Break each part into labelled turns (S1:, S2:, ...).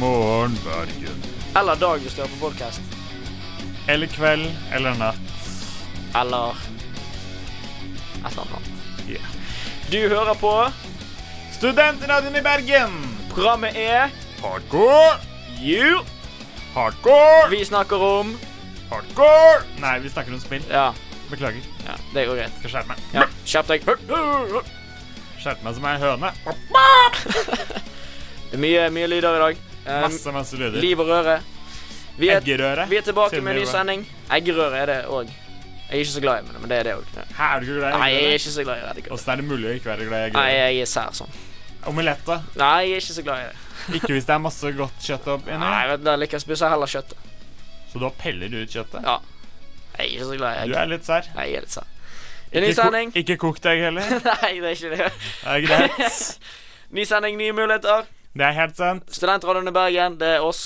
S1: morgen, Bergen.
S2: Eller dag hvis du hører på podkast.
S3: Eller kveld eller natt.
S2: Eller et eller annet.
S3: Yeah.
S2: Du hører på.
S3: Studentradioen i Bergen!
S2: Programmet er
S3: Hardcore!
S2: You.
S3: Hardcore!
S2: Vi snakker om
S3: Hardcore! Nei, vi snakker om spill.
S2: Ja,
S3: Beklager.
S2: ja det går greit.
S3: Skal skjerpe meg.
S2: Ja, Kjapp deg.
S3: Skjerpe meg som ei høne.
S2: Um, Det er mye, mye lyder i dag. Eh,
S3: Masse, masse lyder.
S2: liv og røre. Vi er,
S3: Eggerøre.
S2: vi er tilbake
S3: sier
S2: med en ny
S3: vi.
S2: sending. Eggerøre er det òg. Jeg er ikke så glad i det, men det er det òg.
S3: Hæ, er du ikke glad
S2: Nei,
S3: i
S2: jeg er
S3: eggerøre?
S2: ikke så glad i edderkopper.
S3: Åssen er det mulig å ikke være glad i
S2: Nei,
S3: eggerøre?
S2: jeg er sær sånn.
S3: Omelett, da?
S2: Nei, jeg er ikke så glad i det.
S3: Ikke hvis det er masse godt kjøtt opp inni.
S2: Nei, vet du, Da liker jeg spisser heller kjøttet.
S3: Så da peller du ut kjøttet?
S2: Ja. Jeg er ikke så glad i
S3: Du
S2: egg.
S3: er litt sær.
S2: Nei, jeg er litt sær. Det er ny
S3: Ikke ko-
S2: sending.
S3: Ikke kokt egg heller.
S2: Nei, det er ikke det.
S3: Det er greit.
S2: Ny sending, nye muligheter.
S3: Det er helt sant.
S2: Studentradioen i Bergen, det er oss.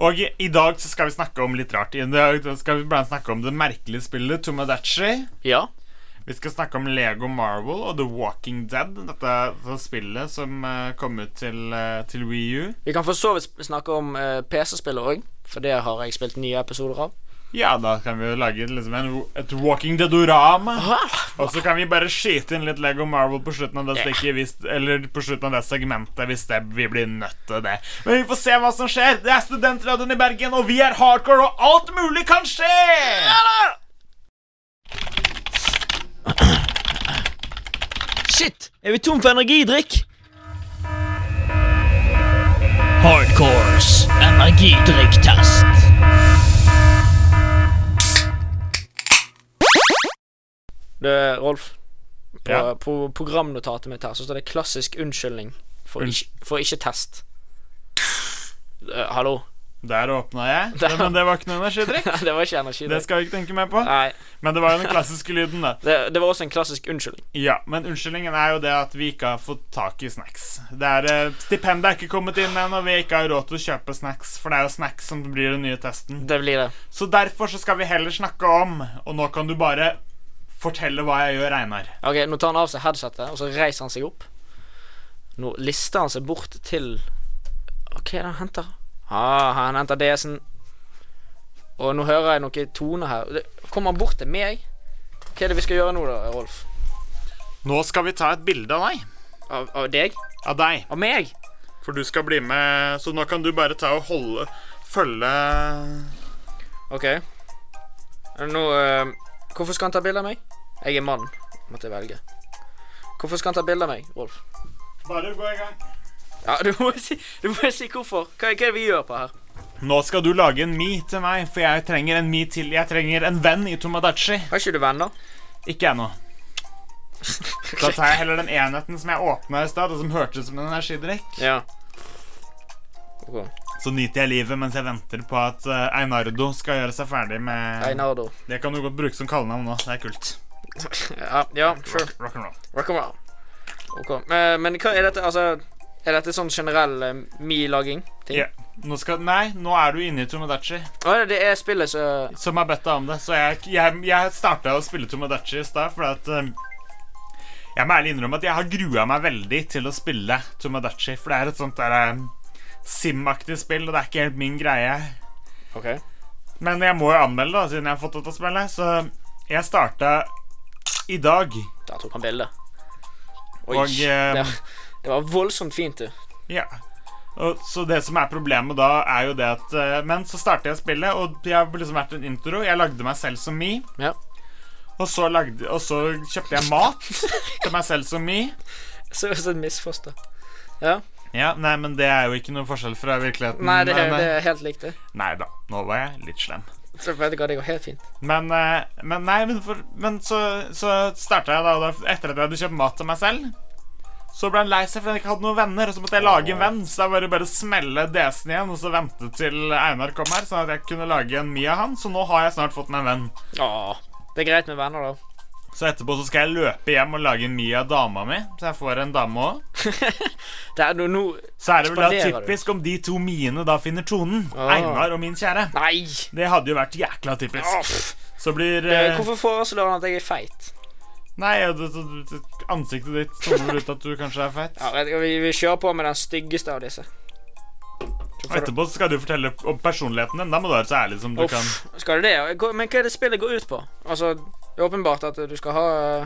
S3: Og i- i dag så skal vi snakke om litt rart. I dag skal vi blant annet snakke om det merkelige spillet Tomodachi.
S2: Ja.
S3: Vi skal snakke om Lego Marvel og The Walking Dead. Dette, dette spillet som eh, kom ut til, uh, til Wii U.
S2: Vi kan for så vidt snakke om eh, PC-spillet òg, for det har jeg spilt nye episoder av.
S3: Ja, da kan vi jo lage liksom en, et Walking Dead-orama. Og så kan vi bare skyte inn litt Lego Marvel på slutten av det stikket hvis, Eller på slutten av det segmentet hvis det, vi blir nødt til det. Men vi får se hva som skjer. Det er Studentradioen i Bergen, og vi er hardcore, og alt mulig kan skje!
S4: Shit! Er vi tom for energidrikk?
S5: Hardcores energidrikktest.
S2: Det er Rolf. På,
S3: Ja.
S2: på programnotatet mitt her så står det 'klassisk unnskyldning for,
S3: Unnskyld.
S2: ikke, for ikke test'. Eh, hallo?
S3: Der åpna jeg.
S2: Der-
S3: Men det var ikke noe energidrikk.
S2: det var ikke energi.
S3: Det skal vi ikke tenke mer på.
S2: Nei.
S3: Men det var jo den klassiske lyden, da.
S2: Det, det var også en klassisk unnskyldning.
S3: Ja, Men unnskyldningen er jo det at vi ikke har fått tak i snacks. Det er, eh, Stipendet er ikke kommet inn ennå, og vi ikke har råd til å kjøpe snacks. For det er jo snacks som blir den nye testen.
S2: Det blir det.
S3: Så derfor så skal vi heller snakke om Og nå kan du bare fortelle hva jeg gjør, Einar.
S2: Ok, Nå tar han av seg headsetet, og så reiser han seg opp. Nå lister han seg bort til Ok, da han henter ah, Han henter DS-en. Og nå hører jeg noen toner her. Det- Kommer han bort til meg? Hva er det vi skal gjøre nå, da, Rolf?
S3: Nå skal vi ta et bilde av deg.
S2: Av, av deg?
S3: Av deg.
S2: Av meg?
S3: For du skal bli med, så nå kan du bare ta og holde Følge
S2: Ok. Nå eh, Hvorfor skal han ta bilde av meg? Jeg er mann, måtte jeg velge. Hvorfor skal han ta bilde av meg, Rolf?
S3: Bare gå i gang.
S2: Ja, Du må jo si, du må jo si hvorfor. Hva, hva er det vi gjør på her?
S3: Nå skal du lage en me til meg, for jeg trenger en me til. Jeg trenger en venn i Tomodachi.
S2: Har ikke du venner?
S3: Ikke ennå. Da tar jeg heller den enheten som jeg åpna i stad, og som hørtes ut som en energidrikk.
S2: Ja. Ok.
S3: Så nyter jeg livet mens jeg venter på at eh, Einardo skal gjøre seg ferdig med
S2: Einardo.
S3: Det kan du godt bruke som kallenavn nå. Det er kult.
S2: Ja, ja sure.
S3: Rock, rock and roll.
S2: Rock and roll. Ok. eh, Men hva er dette, altså Er dette sånn generell eh, me-laging? Ting?
S3: Ja. Nå skal, nei, nå er du inne i Tomodachi,
S2: Å, det er spillet som
S3: som har bedt deg om det. Så jeg, jeg, jeg starta å spille Tomodachi i stad fordi at eh, Jeg må ærlig innrømme at jeg har grua meg veldig til å spille Tomodachi, for det er et sånt der eh, Sim-aktig spill, og det er ikke helt min greie.
S2: Ok.
S3: Men jeg må jo anmelde, da, siden jeg har fått det til å spille. Så jeg starta i dag.
S2: Der tok han bildet. Oi.
S3: Og eh,
S2: det, det var voldsomt fint, du.
S3: Ja. Og, så det som er problemet da, er jo det at eh, Men så starter jeg spillet, og jeg har liksom vært en intro. Jeg lagde meg selv som Me.
S2: Ja.
S3: Og så, lagde, og så kjøpte jeg mat til meg selv som Me.
S2: Så så et misfoster.
S3: Ja, nei, men det er jo ikke noe forskjell fra virkeligheten.
S2: Nei, det, er- det er helt likt, det.
S3: nei da, nå var jeg litt slem.
S2: Så vet du hva, det går helt fint.
S3: Men, eh, men nei, men, for, men så, så starta jeg da, og da, etter at jeg hadde kjøpt mat til meg selv. Så ble han lei seg fordi han ikke hadde noen venner, og så måtte jeg lage en venn. Så da var det bare å smelle desen igjen og så vente til Einar kom her, sånn at jeg kunne lage en Mia han. Så nå har jeg snart fått meg en venn.
S2: Åh. Det er greit med venner, da.
S3: Så etterpå så skal jeg løpe hjem og lage en Mia dama mi, så jeg får en dame òg.
S2: Det er nå no,
S3: Så er det vel da
S2: Spanderer du?
S3: typisk om de to miene da finner tonen.
S2: Ah.
S3: Einar og min kjære.
S2: Nei!
S3: Det hadde jo vært jækla
S2: Åh,
S3: typisk.
S2: pff.
S3: Så blir
S2: Eh,
S3: eh,
S2: Hvorfor foreslår han at jeg er feit?
S3: Nei, ja, det- det- det- ansiktet ditt tommer ut at du kanskje er feit.
S2: Ja, vet du hva, vi, vi kjører på med den styggeste av disse. For
S3: Og etterpå så skal du fortelle om personligheten din. Da må du være så ærlig som du
S2: Uff,
S3: kan.
S2: skal du det? ja? Gå- Men hva er det spillet går ut på? Altså, det er åpenbart at du skal ha eh,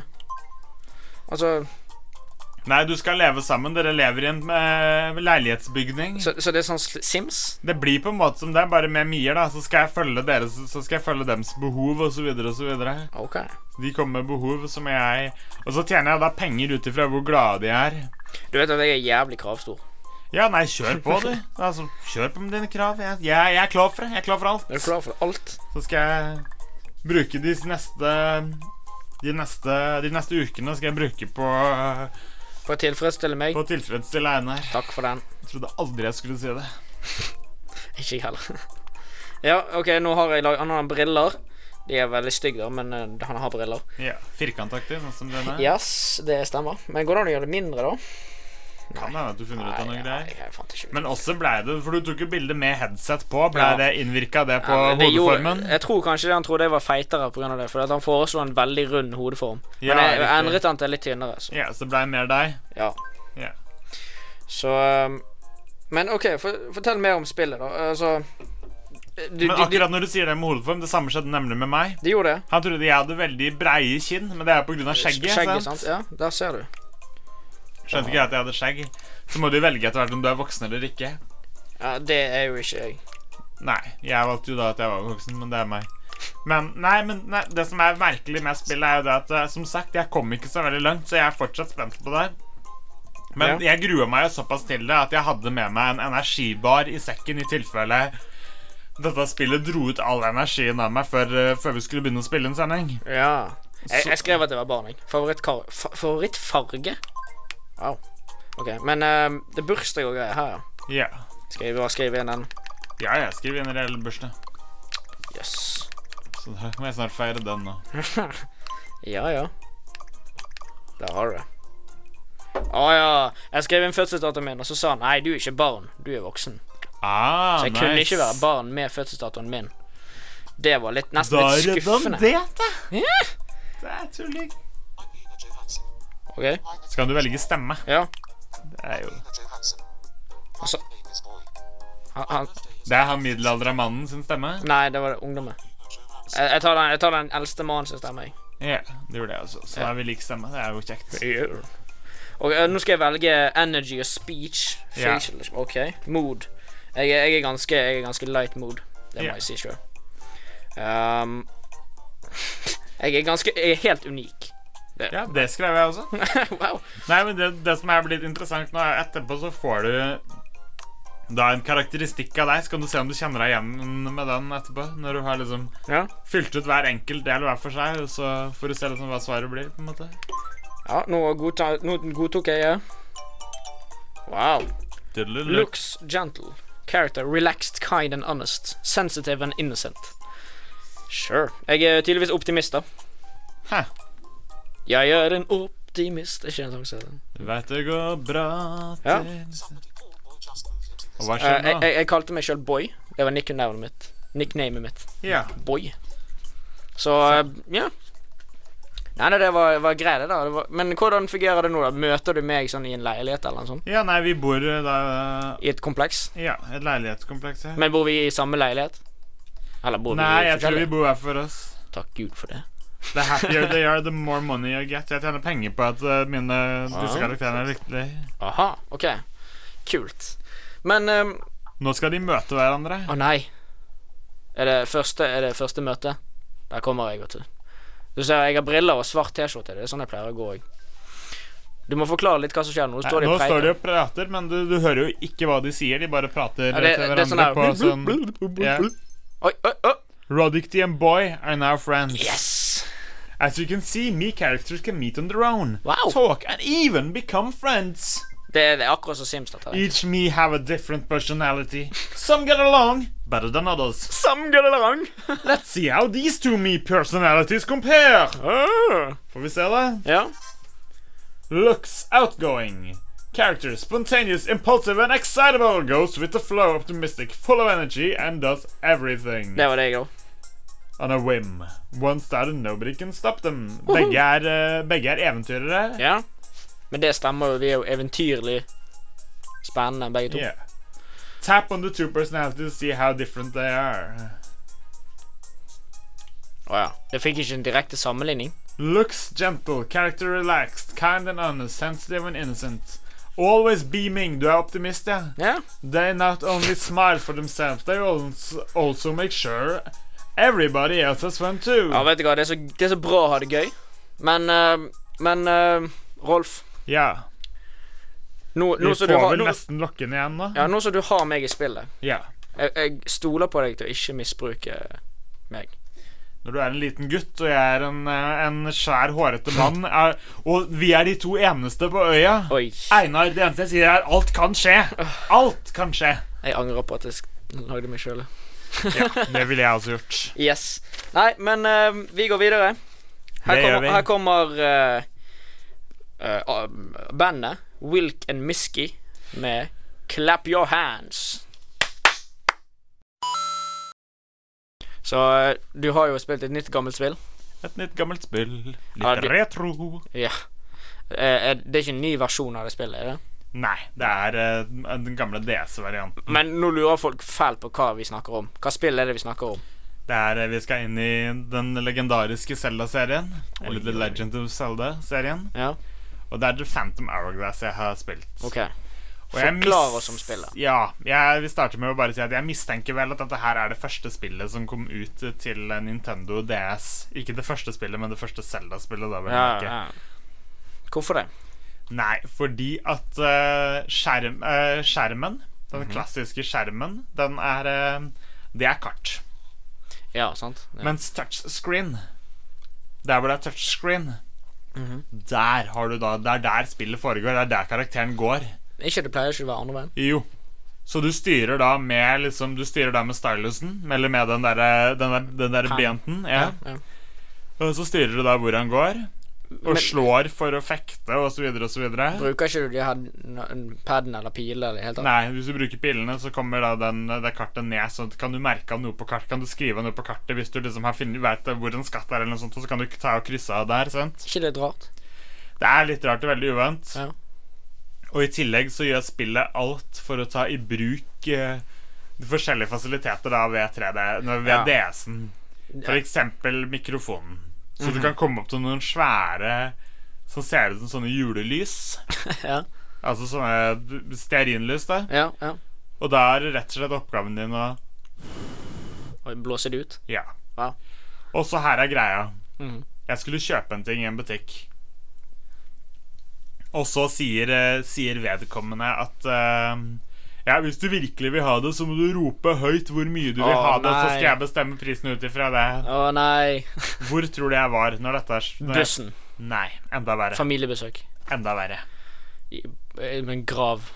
S2: Altså,
S3: Nei, du skal leve sammen. Dere lever i en eh, leilighetsbygning.
S2: så, så det er sånn sl- Sims?
S3: Det blir på en måte som det, bare med Mier, da. Så skal jeg følge deres, så skal jeg følge dems behov, og så videre og så videre.
S2: OK.
S3: De kommer med behov som jeg Og så tjener jeg da penger ut ifra hvor glade de er.
S2: Du vet at jeg er jævlig kravstor.
S3: Ja, nei, kjør på, du. Altså, kjør på med dine krav. Jeg, jeg, jeg er klar for det. Jeg er klar for alt.
S2: Er du klar for alt?
S3: Så skal jeg bruke de neste De neste, de neste ukene skal jeg bruke på,
S2: For å tilfredsstille meg?
S3: på å tilfredsstille Einar.
S2: Takk for den.
S3: Jeg trodde aldri jeg skulle si det.
S2: Ikke jeg heller. ja, OK, nå har jeg lag... Han har briller. De er veldig stygge, da, men eh, han har briller.
S3: Ja, Firkantaktig, sånn som denne.
S2: Yes, det stemmer. Men går det an å gjøre det mindre, da?
S3: Kan hende at du finner ut av noe greier.
S2: jeg, jeg fant ikke ut.
S3: Men også blei det For du tok jo bilde med headset på. Blei
S2: Ja.
S3: det innvirka det på
S2: Ja, men det gjorde-
S3: hodeformen?
S2: Jeg tror kanskje det han trodde jeg var feitere pga. det. For at han foreslo en veldig rund hodeform.
S3: Ja,
S2: Men jeg
S3: riktig.
S2: endret han til litt tynnere. Så
S3: Ja, så blei mer deg.
S2: ja.
S3: Ja.
S2: Så um, Men OK, for, fortell mer om spillet, da. Altså du,
S3: Men
S2: du, du,
S3: akkurat når du sier det med hodeform, det samme skjedde nemlig med meg.
S2: de gjorde det?
S3: Han trodde jeg hadde veldig breie kinn, men det er pga. skjegget.
S2: Skjegget,
S3: sant?
S2: sant? Ja, der ser du.
S3: Skjønte ikke jeg at jeg hadde skjegg. Så må du velge etter hvert om du er voksen eller ikke.
S2: Ja, Det er jo ikke jeg.
S3: Nei, jeg valgte jo da at jeg var voksen, men det er meg. Men nei, men nei, det som er merkelig med spillet, er jo det at eh, som sagt, jeg kom ikke så veldig langt, så jeg er fortsatt spent på det. her. Men jeg grua meg jo såpass til det at jeg hadde med meg en energibar i sekken i tilfelle dette spillet dro ut all energien av meg før, eh, før vi skulle begynne å spille en sending.
S2: Ja. Jeg,
S3: Så-
S2: jeg skrev at jeg var barn, jeg. Favorittkar- fa- Favorittfarge? Wow. OK. Men um, det er bursdag og greier her, ja.
S3: Ja.
S2: Skal jeg bare skrive inn den?
S3: Ja, jeg skriver inn reell bursdag,
S2: Jøss. Yes.
S3: så da må jeg snart feire den nå.
S2: Ja, ja. Der har du det. Å ja. Jeg skrev inn fødselsdatoen min, og så sa han nei, du er ikke barn, du er voksen.
S3: Ah,
S2: Så jeg kunne ikke være barn med fødselsdatoen min. Det var litt, nesten
S3: Da
S2: litt
S3: er det den
S2: skuffende.
S3: det, da. Det er tulling.
S2: Ok,
S3: Så kan du velge stemme.
S2: ja.
S3: Det er jo
S2: Altså, han, han,
S3: Det er han middelaldra mannen sin stemme.
S2: nei, det var det ungdommen. Jeg, jeg, tar den, jeg tar den eldste mannen som stemmer, jeg.
S3: Ja, det gjorde jeg også. Så da er vi lik stemme. Det er jo kjekt.
S2: Og eh, nå skal jeg velge energy og speech.
S3: Ja.
S2: Facial, liksom. OK. Mood. Jeg, er- jeg, er ganske, jeg er ganske light mood. Det må
S3: Ja.
S2: jeg si sjøl. Um, jeg er ganske Jeg er helt unik.
S3: Ja, det skrev jeg også.
S2: wow.
S3: Nei, men det, det som er blitt interessant nå, er etterpå så får du da en karakteristikk av deg, så kan du se om du kjenner deg igjen med den etterpå. Når du har liksom
S2: Ja.
S3: fylt ut hver enkelt del hver for seg, og så får du se liksom hva svaret blir. på en måte
S2: ja nå, godta, nå godtok jeg det. Wow.
S3: Look.
S2: Looks gentle. Character relaxed, kind and honest. Sensitive and innocent. Sure. Jeg er tydeligvis optimist, da.
S3: Hæ.
S2: Jeg er en optimist. Det er ikke en sang som heter det.
S3: Du veit det går bra til
S2: Ja.
S3: Og hva
S2: Eh,
S3: skjer
S2: jeg,
S3: nå?
S2: jeg, jeg kalte meg sjøl Boy. Det var nicknamet mitt. Nicknamet mitt.
S3: Ja.
S2: Boy. Så eh, ja. Nei, nei, det var, var greit, det. da det var, Men hvordan fungerer det nå? da? Møter du meg sånn i en leilighet eller noe sånt?
S3: ja, nei, vi bor eh, da
S2: I et kompleks?
S3: Ja, et leilighetskompleks her.
S2: Men bor vi i samme leilighet? Eller bor
S3: Nei,
S2: vi i
S3: jeg tror vi
S2: forskjellige?
S3: bor hver for oss.
S2: Takk Gud for det.
S3: The happier they are, the more money you get. Jeg tjener penger på at eh, mine disse
S2: Ah.
S3: karakterene er lykkelige.
S2: Aha, OK. Kult. Men eh,
S3: Nå skal de møte hverandre.
S2: Å nei. Er det første, er det første møte? Der kommer jeg, vet du. Du ser jeg har briller og svart T-skjorte. Det er sånn jeg pleier å gå òg. Du må forklare litt hva som skjer nå. Nå
S3: Nei,
S2: står de
S3: nå
S2: og
S3: står de
S2: preiker.
S3: og prater, men du, du hører jo ikke hva de sier. De bare prater
S2: Ja, det-
S3: til
S2: det er
S3: hverandre
S2: sånn her,
S3: på sånn
S2: blub,
S3: Ja.
S2: Oi, oi, oi.
S3: Rodicty and Boy are now friends.
S2: Yes!
S3: As you can see, me characters can meet on their own.
S2: Wow.
S3: Talk and even become friends.
S2: Det er, det er akkurat som Sims. dette her.
S3: Each me have a different personality. Some get along better than others. Let's see how these two me personalities compare.
S2: Ah.
S3: Får vi se, da.
S2: Ja.
S3: Looks outgoing. Character spontaneous, impulsive, and excitable. Goes with the flow, optimistic, full of energy, and does everything
S2: Det var det jeg òg.
S3: on a whim. Once started, nobody can stop them. Begge er, eh, begge er eventyrere.
S2: Ja. Men det stemmer jo. Vi er jo eventyrlig spennende, begge to.
S3: Yeah. Tap on the two personalities to see how different they are.
S2: Å ja. Jeg fikk ikke en direkte sammenligning.
S3: Looks gentle, character relaxed, kind and honest, sensitive and innocent. Always beaming. Du er optimist, ja.
S2: Ja.
S3: They not only smile for themselves, they also, also make sure everybody else has fun too.
S2: ja, vet du hva, det er, så, det er så bra å ha det gøy. Men eh, Men eh, Rolf,
S3: Ja.
S2: nå,
S3: Vi
S2: nå som
S3: får
S2: du har
S3: vel
S2: nå,
S3: nesten lokken igjen, da.
S2: Ja, nå som du har meg i spillet
S3: Ja.
S2: jeg, jeg stoler på deg til å ikke misbruke meg.
S3: Når du er en liten gutt, og jeg er en, eh, en skjær, hårete mann, er, og vi er de to eneste på øya
S2: Oi.
S3: Einar, det eneste jeg sier, er alt kan skje. Alt kan skje.
S2: Jeg angrer på at jeg sk- lagde meg sjøl.
S3: Det ville jeg også gjort.
S2: Yes. Nei, men eh, vi går videre. Her
S3: Det gjør
S2: kommer,
S3: vi.
S2: her kommer eh, eh, um, bandet Wilk and Misky med Clap Your Hands. Så eh, du har jo spilt et nytt gammelt spill.
S3: Et nytt gammelt spill. Litt
S2: Ja, det-
S3: retro.
S2: Ja. Eh, eh, det er ikke en ny versjon av det spillet, er det?
S3: Nei, det er eh, den gamle DS-varianten.
S2: Men nå lurer folk fælt på hva vi snakker om. Hva spill er det vi snakker om?
S3: Det er eh, Vi skal inn i den legendariske Zelda-serien. Eller The Legend of Zelda-serien.
S2: Ja,
S3: Og det er The Phantom Hourglass jeg har spilt.
S2: ok
S3: Og jeg
S2: Forklar
S3: mis-
S2: oss om spillet.
S3: Ja. Jeg vil starte med å bare si at jeg mistenker vel at dette her er det første spillet som kom ut til eh, Nintendo DS. Ikke det første spillet, men det første Zelda-spillet. da vel
S2: Ja,
S3: ikke.
S2: ja. Hvorfor det?
S3: Nei, fordi at eh, skjerm, eh, skjermen, den
S2: Mhm.
S3: klassiske skjermen, den er eh, Det er kart.
S2: Ja, sant? Ja.
S3: Mens touchscreen Der hvor det er touchscreen, der har du da Det er der spillet foregår. Det er der karakteren går.
S2: ikke det pleier ikke å være andre veien.
S3: Jo. Så du styrer da med liksom Du styrer da med stylusen, eller med den derre den der, den der benten. Ja.
S2: Ja.
S3: Og så styrer du da hvor han går, og
S2: Men-
S3: slår for å fekte, og så videre og så videre.
S2: Bruker ikke du de her n- paden eller piler eller helt annet?
S3: Nei, hvis du bruker pillene, så kommer da den, det kartet ned. Så kan du merke av noe på kartet. Kan du skrive av noe på kartet hvis du liksom har funnet- vet hvor en skatt er, eller noe sånt, og så kan du ta og krysse av der. sant?
S2: Ikke litt rart?
S3: Det er litt rart og veldig uvant.
S2: Ja.
S3: Og i tillegg så gjør spillet alt for å ta i bruk eh, forskjellige fasiliteter da ved 3D, nei, ved
S2: Ja.
S3: DS-en. For eksempel mikrofonen. Så
S2: Mhm.
S3: du kan komme opp til noen svære som ser ut som sånne julelys.
S2: Ja.
S3: Altså sånne stearinlys, da.
S2: Ja, ja.
S3: Og da er det rett og slett oppgaven din å
S2: Og blåser det ut?
S3: Ja.
S2: Wow.
S3: Og så her er greia.
S2: Mhm.
S3: Jeg skulle kjøpe en ting i en butikk. Og så sier, eh, sier vedkommende at eh, Ja, hvis du virkelig vil ha det, så må du rope høyt hvor mye du vil
S2: Å,
S3: ha det, så
S2: nei.
S3: skal jeg bestemme prisen ut ifra det.
S2: Å nei.
S3: Hvor tror du jeg var når dette er når jeg-
S2: Bussen.
S3: Nei. Enda verre.
S2: Familiebesøk.
S3: Enda verre.
S2: I eh, i en grav.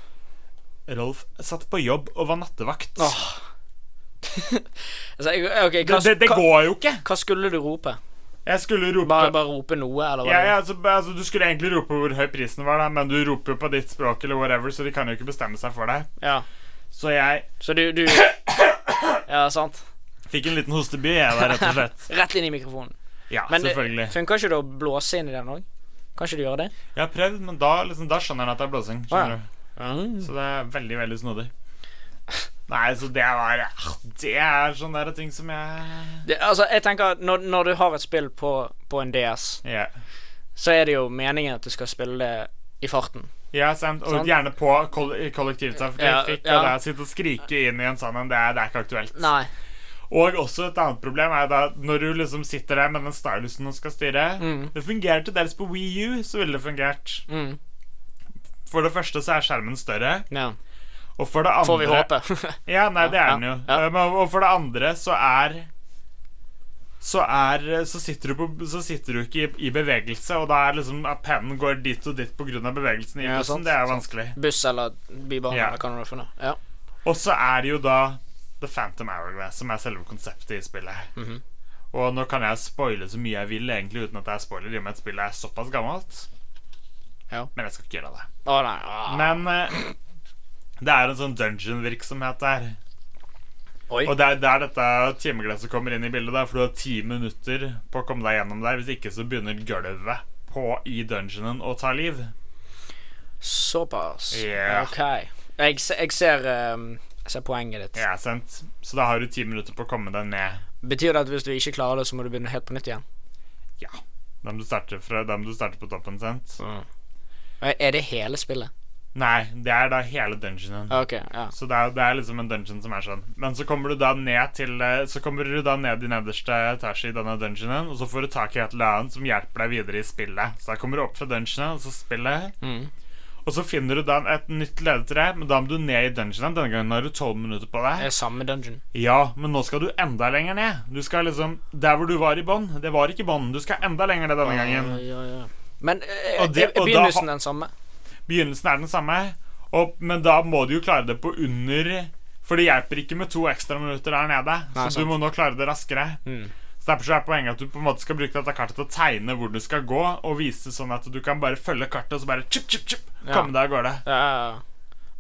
S3: Rolf satt på jobb og var nattevakt.
S2: Åh. Altså, jeg- OK, hva,
S3: Det, det, det
S2: hva,
S3: går jo ikke!
S2: hva skulle du rope?
S3: Jeg skulle rope
S2: Bare, bare rope noe, eller hva?
S3: Ja,
S2: det-
S3: ja, altså, altså, du skulle egentlig rope hvor høy prisen var, da, men du roper jo på ditt språk eller whatever, så de kan jo ikke bestemme seg for deg.
S2: ja.
S3: Så jeg
S2: Så du, du Ja, sant.
S3: fikk en liten hosteby, jeg da, rett og slett.
S2: Rett inn i mikrofonen.
S3: Ja,
S2: Men eh, det-
S3: selvfølgelig.
S2: Funker ikke det å blåse inn i den òg? Kan ikke du gjøre det?
S3: Jeg har prøvd, men da, liksom, da skjønner han at det er blåsing.
S2: Å,
S3: Skjønner du?
S2: Mm.
S3: Så det er veldig, veldig snodig. Nei, så det var ah, Det er sånne der ting som jeg
S2: Det, altså, jeg tenker at når, når du har et spill på, på en DS,
S3: Ja,
S2: så er det jo meningen at du skal spille det i farten.
S3: ja sant. Og
S2: Sant.
S3: gjerne på koll i kollektivtrafikk.
S2: Ja,
S3: og
S2: ja.
S3: der Sitte og skrike inn i en sånn en, det, er- det er ikke aktuelt.
S2: Nei.
S3: Og også et annet problem er da når du liksom sitter der med den stylusen og skal styre
S2: Mm.
S3: Det fungerer til dels på Wii U, så ville det fungert.
S2: Mm.
S3: For det første så er skjermen større,
S2: Ja.
S3: og for det andre
S2: Får vi håpe.
S3: Ja, nei, det er
S2: Ja,
S3: den jo. Eh,
S2: ja.
S3: Men- Og for det andre så er så, er, så, sitter du på, så sitter du ikke i, i bevegelse, og da er liksom at pennen går dit og dit pga. bevegelsen i
S2: Ja,
S3: bussen.
S2: sant,
S3: det er jo vanskelig.
S2: Buss eller bybane
S3: Ja.
S2: eller hva det er for noe. Ja.
S3: Og så er det jo da The Phantom Hourglass, som er selve konseptet i spillet. Og nå kan jeg spoile så mye jeg vil, egentlig uten at det er spoiler, i og med at spillet er såpass gammelt.
S2: Ja.
S3: Men jeg skal ikke gjøre det.
S2: Å nei. ah.
S3: Men eh, det er en sånn dungeon-virksomhet der.
S2: Oi.
S3: Og det er der dette timeglasset kommer inn i bildet, da, for du har ti minutter på å komme deg gjennom der. Hvis ikke så begynner gulvet på i dungeonen å ta liv.
S2: Såpass.
S3: Ja.
S2: OK. Jeg, se- jeg ser ehm, Jeg ser poenget ditt.
S3: Ja, sant. Så da har du ti minutter på å komme deg ned.
S2: Betyr det at hvis du ikke klarer det, så må du begynne helt på nytt igjen?
S3: Ja. Da må du starte, fra, da må du starte på toppen, sant?
S2: Eh, Er er det hele spillet?
S3: Nei, det er da hele dungeonen.
S2: Ok, ja.
S3: Så det er, det er liksom en dungeon som er sånn. Men så kommer du da ned til eh, Så kommer du da ned i nederste etasje i denne dungeonen, og så får du tak i et eller annet som hjelper deg videre i spillet. Så da kommer du opp fra dungeonen, og så spillet.
S2: Mm.
S3: Og så finner du da et nytt ledetre, men da må du ned i dungeonen. Denne gangen har du tolv minutter på
S2: Det
S3: deg.
S2: er samme dungeon.
S3: Ja, men nå skal du enda lenger ned. Du skal liksom Der hvor du var i bånn, det var ikke bånn. Du skal enda lenger ned denne gangen.
S2: Ja, ja, ja. Men eh,
S3: Og det-
S2: er
S3: og da
S2: begynnelsen
S3: ha-
S2: den samme?
S3: Begynnelsen er den samme, og, men da må du jo klare det på under For det hjelper ikke med to ekstra minutter der nede,
S2: Nei,
S3: så
S2: sant.
S3: du må nå klare det raskere.
S2: Mm.
S3: Så Derfor så er poenget at du på en måte skal bruke dette kartet til å tegne hvor du skal gå, og vise sånn at du kan bare følge kartet og så bare chip, chip, chip,
S2: Ja.
S3: komme deg av gårde.
S2: Ja, ja, ja.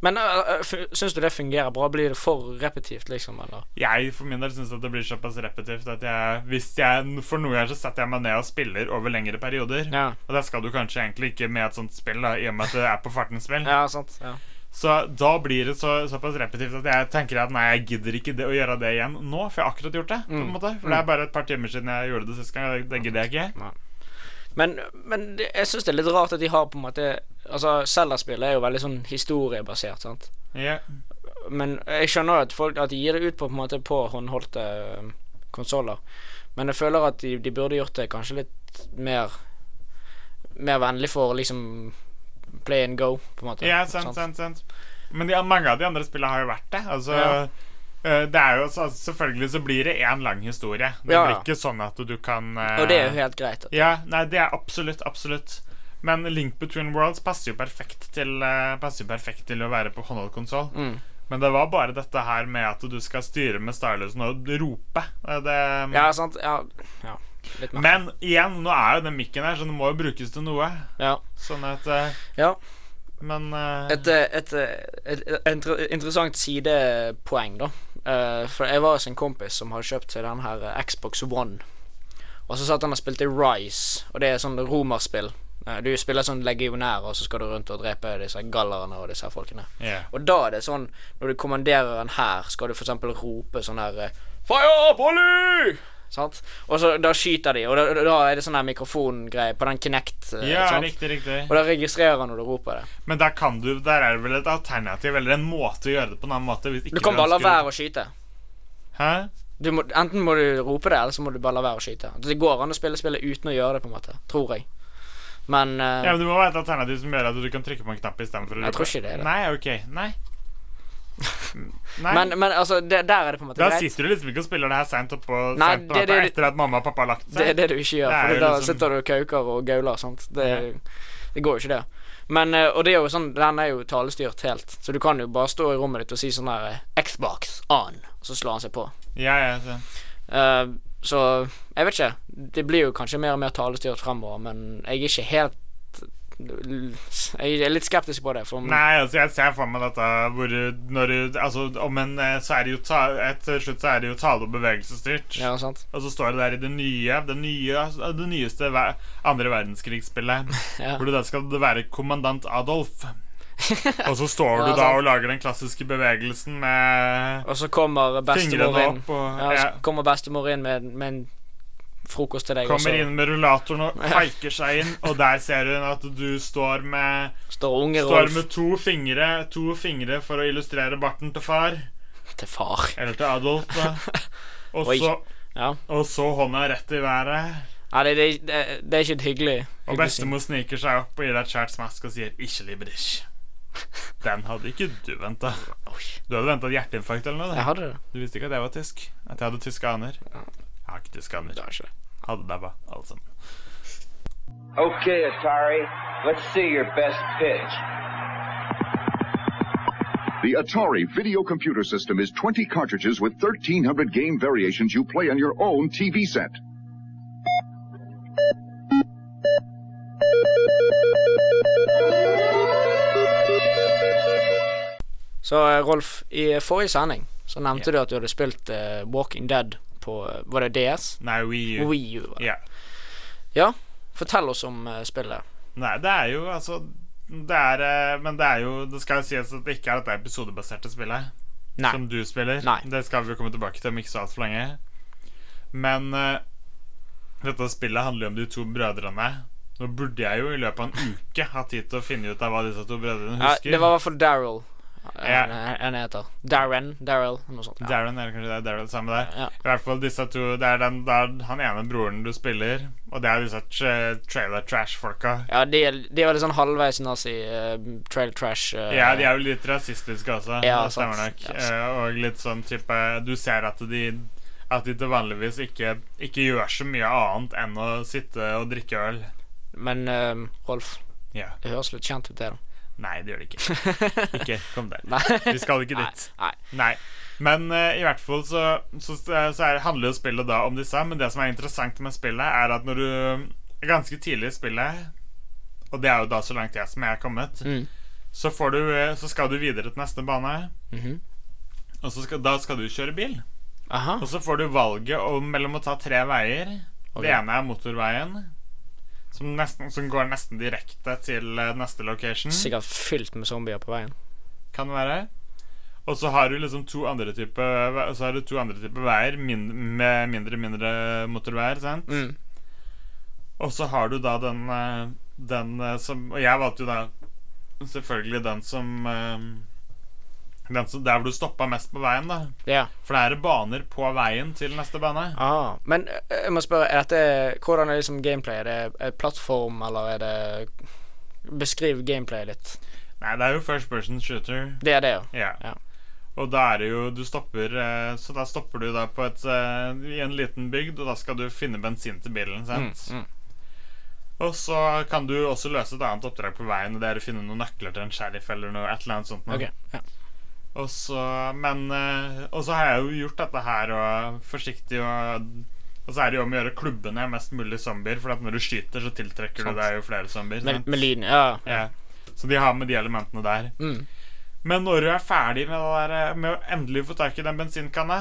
S2: Men uh, syns du det fungerer bra? Blir det for repetitivt, liksom? Eller?
S3: Jeg for min del syns at det blir såpass repetitivt at jeg, hvis jeg For noen ganger så setter jeg meg ned og spiller over lengre perioder.
S2: Ja,
S3: Og det skal du kanskje egentlig ikke med et sånt spill, da, i og med at det er på farten-spill.
S2: ja sant. Ja.
S3: Så da blir det så, såpass repetitivt at jeg tenker at nei, jeg gidder ikke det, å gjøre det igjen nå, for jeg har akkurat gjort det. på en
S2: Mm.
S3: måte For det er bare et par timer siden jeg gjorde det sist gang. og Det, det gidder jeg ikke.
S2: Men, men det, jeg syns det er litt rart at de har på en måte Altså, Zelda-spill er jo veldig sånn historiebasert, sant.
S3: Ja.
S2: Men jeg skjønner jo at folk At de gir det ut på på en måte på håndholdte uh, konsoller. Men jeg føler at de, de burde gjort det kanskje litt mer Mer vennlig for liksom play and go, på en måte.
S3: ja, sant, sant, sant. Men de, mange av de andre spillene har jo vært det. Altså
S2: Ja.
S3: eh, det er jo, så, Selvfølgelig så blir det én lang historie. Det
S2: Ja,
S3: blir
S2: ja.
S3: ikke sånn at du kan eh,
S2: Og det er jo helt greit. At,
S3: Ja, nei, det er absolutt, absolutt. Men Link Between Worlds passer jo perfekt til, eh, passer jo perfekt til å være på håndholdt konsoll.
S2: mm.
S3: Men det var bare dette her med at du skal styre med stylusen og rope. Eh, Det,
S2: Ja, sant. Ja. ja. Litt mer.
S3: Men igjen, nå er jo den mikken her, så den må jo brukes til noe.
S2: Ja.
S3: Sånn at eh,
S2: Ja.
S3: Men eh,
S2: Et, eh, et, eh, et, et inter- interessant sidepoeng, da. Eh, for jeg var hos en kompis som hadde kjøpt seg den her eh, Xbox One. Og så satt han og spilte Rise, og det er sånn romerspill. Eh, Du spiller sånn legionærer, og så skal du rundt og drepe disse gallerne og disse her folkene.
S3: ja.
S2: Og da er det sånn, når du kommanderer en hær, skal du for eksempel rope sånn her eh, Fire volley! Sant? Og så da skyter de, og da, da er det sånn her mikrofongreie på den Kinect. eh,
S3: ja,
S2: sant?
S3: riktig, riktig.
S2: Og da registrerer han når du roper det.
S3: Men der, kan du, der er det vel et alternativ eller en måte å gjøre det på en annen måte. Hvis ikke
S2: Du kan bare la
S3: ønsker-
S2: være å skyte.
S3: Hæ?
S2: Du må, enten må du rope det, eller så må du bare la være å skyte. Det går an å spille spillet uten å gjøre det, på en måte. Tror jeg. Men eh,
S3: Ja, men Det må være et alternativ som gjør at du kan trykke på en knapp istedenfor å
S2: Jeg tror ikke det er det.
S3: Nei, ok. Nei. Nei.
S2: men, men altså, det, der er det på en måte
S3: da
S2: greit.
S3: sitter du liksom ikke og spiller det her seint oppå
S2: Nei,
S3: sent på
S2: det-
S3: natta
S2: det-
S3: etter at mamma og pappa har lagt seg.
S2: Det er det du ikke gjør,
S3: Det er
S2: for
S3: jo
S2: da
S3: liksom-
S2: sitter du og kauker og gauler. Sant? Det, det går jo ikke, det. Men, eh, og det er jo sånn, den er jo talestyrt helt, så du kan jo bare stå i rommet ditt og si sånn her eh, Xbox on, og så slår han seg på.
S3: Ja, ja, sant.
S2: Eh, så jeg vet ikke. Det blir jo kanskje mer og mer talestyrt fremover, men jeg er ikke helt Jeg er litt skeptisk på det. For om-
S3: Nei, altså jeg ser for meg dette hvor du- når du Altså om en eh, Så er det jo ta, et, Til slutt så er det jo tale- og bevegelsesstyrt.
S2: Ja, sant?
S3: Og så står det der i det nye Det, nye, altså, det nyeste ver andre verdenskrigsspillet
S2: Ja.
S3: hvor du da skal være kommandant Adolf. Og så står du
S2: Ja,
S3: da
S2: sant.
S3: og lager den klassiske bevegelsen med
S2: Og så kommer bestemor
S3: fingrene
S2: inn.
S3: opp og
S2: Ja,
S3: ja,
S2: så kommer bestemor inn med, med en frokost til deg, og så
S3: Kommer inn med rullatoren og haiker seg inn, og der ser hun at du står med
S2: står unge
S3: Står
S2: Rolf
S3: med to fingre To fingre for å illustrere barten til far.
S2: til far.
S3: Eller til Adolf, da. Og
S2: Oi.
S3: så,
S2: Ja.
S3: og så hånda rett i været.
S2: Ja, det, det, det, det er ikke et hyggelig
S3: Og
S2: hyggelig syn.
S3: bestemor sniker seg opp og gir deg et kjært smask og sier 'ikke librich'. Den hadde ikke du venta.
S2: Oi,
S3: Du hadde venta hjerteinfarkt eller noe.
S2: jeg
S3: da.
S2: hadde det.
S3: Du visste ikke at jeg var tysk? At jeg hadde tyske aner? Jeg har ikke tyske aner.
S2: det var ikke det.
S3: Hadde dabba, alle sammen.
S1: Okay, Atari, let's see your best pitch.
S6: The Atari video computer system is 20 cartridges with 1,300 game variations you play on your own TV set.
S2: Så eh, Rolf, i forrige sending så nevnte du at du hadde spilt eh, Walking Dead på eh, Var det DS?
S3: Nei, Wii U.
S2: Wii U. var det.
S3: Ja.
S2: Ja, fortell oss om eh, spillet.
S3: Nei, det er jo altså det er, eh, Men det er jo Det skal jo sies at det ikke er dette episodebaserte spillet.
S2: Nei.
S3: som du spiller.
S2: Nei.
S3: Det skal vi jo komme tilbake til om ikke så altfor lenge. Men eh, dette spillet handler jo om de to brødrene. Nå burde jeg jo i løpet av en uke ha tid til å finne ut av hva disse to brødrene
S2: Ja,
S3: husker.
S2: det var i hvert fall Daryl eh,
S3: Ja.
S2: han, han heter. Darren, Daryl, noe sånt. Ja.
S3: Darren, eller kanskje det er Daryl samme der.
S2: Ja.
S3: I hvert fall disse to Det er, den, det er han ene broren du spiller, og det er disse tra trailer trash-folka.
S2: Ja, de, er- de var litt sånn halvveis nazi, eh, trail trash eh,
S3: Ja, de er jo litt rasistiske også.
S2: Ja,
S3: det stemmer
S2: sant.
S3: nok.
S2: Ja.
S3: Eh, Og litt sånn type Du ser at de at de til vanligvis ikke, ikke gjør så mye annet enn å sitte og drikke øl.
S2: Men eh, Rolf,
S3: Ja.
S2: det høres litt kjent ut, det, da.
S3: Nei, det gjør de ikke. Ikke kom der.
S2: Nei.
S3: Vi skal ikke dit.
S2: Nei.
S3: Nei. Men eh, i hvert fall så, så, så er, handler jo spillet da om disse. Men det som er interessant med spillet, er at når du Ganske tidlig i spillet, og det er jo da så langt jeg som jeg er kommet, så, får du, eh, så skal du videre til neste bane. Og så skal, da skal du kjøre bil.
S2: Aha.
S3: Og så får du valget om, mellom å ta tre veier. Det ene er motorveien, som, nesten, som går nesten direkte til eh, neste location.
S2: Sikkert fylt med zombier på veien.
S3: Kan være. Og så har du liksom to andre typer Så har du to andre typer veier min, med mindre mindre motorveier, sant?
S2: Mm.
S3: Og så har du da den eh, Den eh, som Og jeg valgte jo da selvfølgelig den som eh, Den som Der hvor du stoppa mest på veien, da.
S2: Ja.
S3: For det er baner på veien til neste bane.
S2: Ah. Men eh, jeg må spørre, er dette hvordan er liksom gameplay? Er det er det plattform, eller er det Beskriv gameplayet litt.
S3: Nei, det er jo first person shooter.
S2: Det er det, ja.
S3: Ja.
S2: Ja.
S3: Og da er det jo Du stopper eh, Så da stopper du da på et eh, I en liten bygd, og da skal du finne bensin til bilen, sant?
S2: Mm,
S3: Og så kan du også løse et annet oppdrag på veien, og det er å finne noen nøkler til en sheriff eller noe et eller annet sånt. noe.
S2: Ok, ja.
S3: Og så Men eh, Og så har jeg jo gjort dette her og forsiktig og og så er det jo om å gjøre klubbene mest mulig zombier, for at når du skyter, så tiltrekker
S2: Sant.
S3: du deg jo flere zombier.
S2: Med,
S3: sant?
S2: med lyden, ja.
S3: Ja. Så de har med de elementene der.
S2: Mm.
S3: Men når du er ferdig med, det der, eh, med å endelig få tak i den bensinkanna,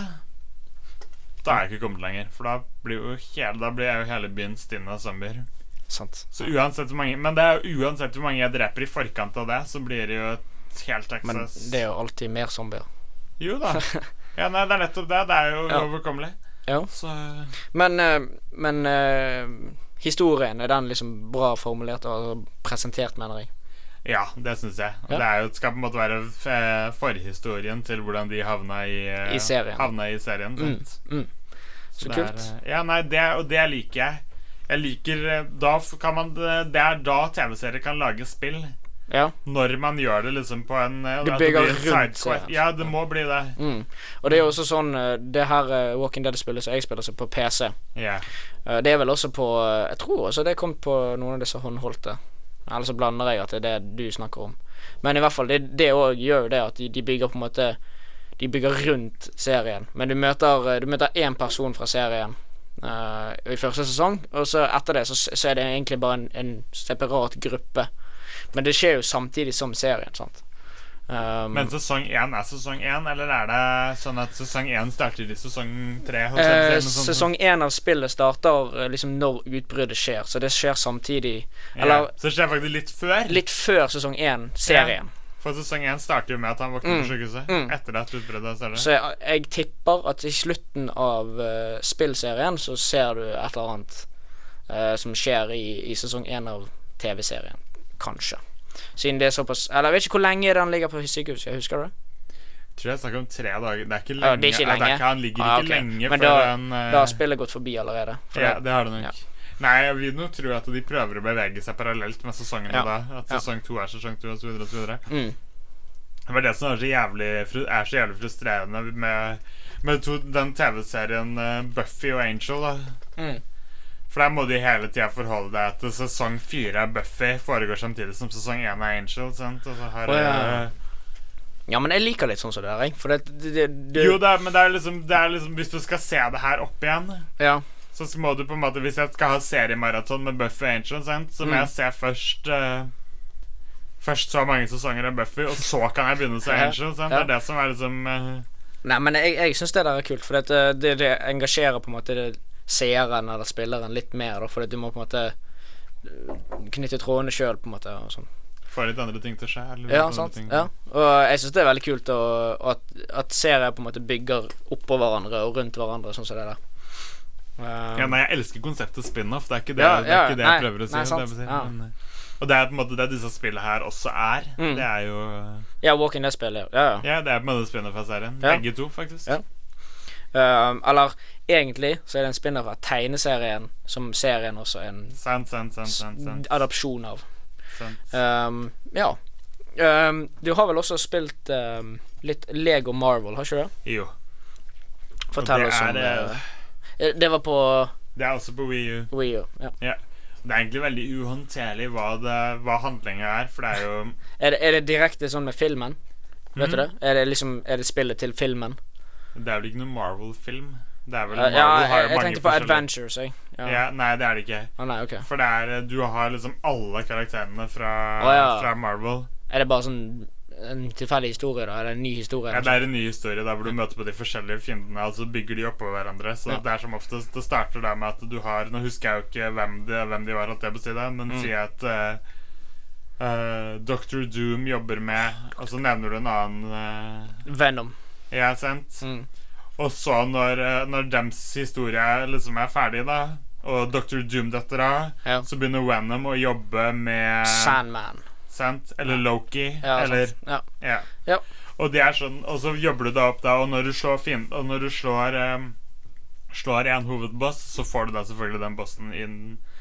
S3: da er jeg ikke kommet lenger. For da blir jo hele, da blir jeg jo hele byen stinn av zombier.
S2: Sant.
S3: Så uansett hvor mange Men det er jo uansett hvor mange jeg dreper i forkant av det, så blir det jo et helt
S2: Men
S3: Texas
S2: det er jo alltid mer zombier.
S3: Jo da. Ja, nei, det er nettopp det. Det er jo
S2: Ja.
S3: overkommelig.
S2: Ja.
S3: Så
S2: Men, eh, men eh, historien, er den liksom bra formulert og presentert, mener jeg?
S3: ja, det syns jeg. Og
S2: Ja.
S3: Det er jo, skal på en måte være f- forhistorien til hvordan de havna i, eh,
S2: I serien.
S3: Havna i serien sant?
S2: Mm. Så
S3: Det
S2: kult.
S3: Er, eh, ja, nei, det, og det liker jeg. Jeg liker eh, Da f- kan man eh, Det er da TV-serier kan lage spill.
S2: Ja.
S3: Når man gjør det liksom på en eh,
S2: Du
S3: at det
S2: bygger
S3: blir en
S2: rundt
S3: sidequest.
S2: serien.
S3: Ja, det må bli det.
S2: Mm. Og det er jo også sånn eh, Det her eh, Walking Dead-spillet som jeg spiller, så på PC
S3: Ja.
S2: eh, Det er vel også på eh, Jeg tror også det kom på noen av disse håndholdte. Eller så blander jeg at det er det du snakker om. Men i hvert fall, det, det også gjør jo det at de, de bygger på en måte De bygger rundt serien. Men du møter eh, Du møter én person fra serien eh, i første sesong, og så etter det så, så er det egentlig bare en, en separat gruppe. Men det skjer jo samtidig som serien, sant. Um,
S3: Men sesong én er sesong én, eller er det sånn at sesong én starter i sesong tre? hos
S2: Eh,
S3: dem, eller noe sånt?
S2: sesong én av spillet starter eh, liksom når utbruddet skjer, så det skjer samtidig Eller
S3: ja. Så det skjer faktisk litt før.
S2: litt før sesong én, serien.
S3: For sesong én starter jo med at han våkner på sykehuset. Etter at utbruddet starter.
S2: Mm. Så jeg, jeg tipper at i slutten av eh, spillserien så ser du et eller annet eh, som skjer i, i sesong én av TV-serien. Kanskje. Siden det er såpass Eller jeg vet ikke hvor lenge den ligger på sykehuset, husker du det?
S3: Tror jeg snakker om tre dager. Det er ikke lenge.
S2: Ja, det er ikke
S3: Ja,
S2: lenge.
S3: ikke, han ligger
S2: Ah,
S3: ikke
S2: ok.
S3: lenge
S2: Men
S3: før
S2: da,
S3: han eh,
S2: da har spillet gått forbi allerede. For
S3: Ja,
S2: det-
S3: det har det nok.
S2: ja.
S3: Nei, jeg vil nå tro at de prøver å bevege seg parallelt med sesongene
S2: Ja.
S3: da. At
S2: Ja.
S3: sesong to er sesong to, og så videre, og så videre.
S2: Mm.
S3: Det var det som er så jævlig, fru- er så jævlig frustrerende med, med to, den TV-serien eh, Buffy og Angel, da.
S2: Mm.
S3: For der må du hele tida forholde deg til sesong fire av Buffy foregår samtidig som sesong én av Angel. Sant? Og så har,
S2: Å, ja.
S3: eh,
S2: ja, men jeg liker litt sånn som det der, jeg. For det, det, det, det
S3: Jo da, men det er, liksom, det er liksom Hvis du skal se det her opp igjen
S2: Ja.
S3: Så må du på en måte Hvis jeg skal ha seriemaraton med Buffy og Angel, sant, så må
S2: Mm.
S3: jeg se først eh, Først så mange sesonger av Buffy, og så kan jeg begynne å se
S2: Ja,
S3: Angel. Sant?
S2: ja.
S3: Det er det som er liksom eh,
S2: Nei, men jeg, jeg syns det der er kult, for det, det, det engasjerer på en måte det, seeren eller eh, spilleren litt mer, da, fordi du må på en måte øh, knytte trådene sjøl, på en måte. Og sånn.
S3: Får litt andre ting til sjæl. litt
S2: Ja,
S3: andre
S2: sant.
S3: ting.
S2: Ja. Og jeg syns det er veldig kult å, at, at serier på en måte bygger oppå hverandre og rundt hverandre, sånn som det der. Um,
S3: Ja, nei, jeg elsker konseptet spin-off. Det er ikke det,
S2: Ja,
S3: det, er
S2: ja,
S3: ikke det
S2: nei,
S3: jeg prøver å si.
S2: nei, sant,
S3: det jeg vil si,
S2: ja.
S3: men, eh, og det er på en måte det disse spillene her også er.
S2: Mm.
S3: Det er jo eh,
S2: ja, Walking Dead-spillet. Ja, ja.
S3: Ja, det er på en måte spin-off av serien.
S2: Ja.
S3: Begge to, faktisk.
S2: Ja. Um, eller egentlig så er det en spinner fra tegneserien som serien også er en
S3: Sant, sant, sant, sant, sant,
S2: adopsjon av.
S3: sant.
S2: Um, ja. Um, du har vel også spilt um, litt Lego Marvel, har ikke du det?
S3: Jo.
S2: Fortell
S3: det
S2: oss om
S3: er,
S2: det. Det var på
S3: Det er også på Wii U.
S2: Wii U. Ja.
S3: Ja. Det er egentlig veldig uhåndterlig hva, det- hva handlinga er, for det er jo
S2: Er, det, er det direkte sånn med filmen? Vet
S3: Mhm.
S2: du det? Er det liksom Er det spillet til filmen? Eh,
S3: Det er vel ikke noen Marvel-film? Det er vel
S2: Ja,
S3: Marvel har jo
S2: jeg, jeg
S3: mange
S2: tenkte på
S3: forskjellige-
S2: Adventures, jeg. Ja.
S3: Ja, nei, det er det ikke.
S2: Å, nei, ok.
S3: For det er, du har liksom alle karakterene fra,
S2: Å, ja.
S3: fra Marvel.
S2: Er det bare sånn en tilfeldig historie, da? Eller en ny historie?
S3: Ja,
S2: eller
S3: det er en ny historie der hvor du møter på de forskjellige fiendene, og så bygger de oppå hverandre. Så det er som oftest Det starter der med at du har Nå husker jeg jo ikke hvem de, hvem de var, holdt jeg på å si det,
S2: Mm.
S3: men si at eh, eh, Dr. Doom jobber med Og så nevner du en annen eh,
S2: sånn? Venom.
S3: jeg har sendt.
S2: Mm.
S3: Og så, når, eh, når dems historie liksom er ferdig, da, og Dr. Doom detter av,
S2: Ja.
S3: så begynner Venom å jobbe med
S2: Sandman.
S3: Sant? Eller Loki.
S2: Ja,
S3: eller
S2: sant. Ja.
S3: Ja.
S2: Ja.
S3: Og det er sånn Og så jobber du deg opp da, og når du slår fin Og når du slår em, Slår en hovedboss, så får du da selvfølgelig den bossen inn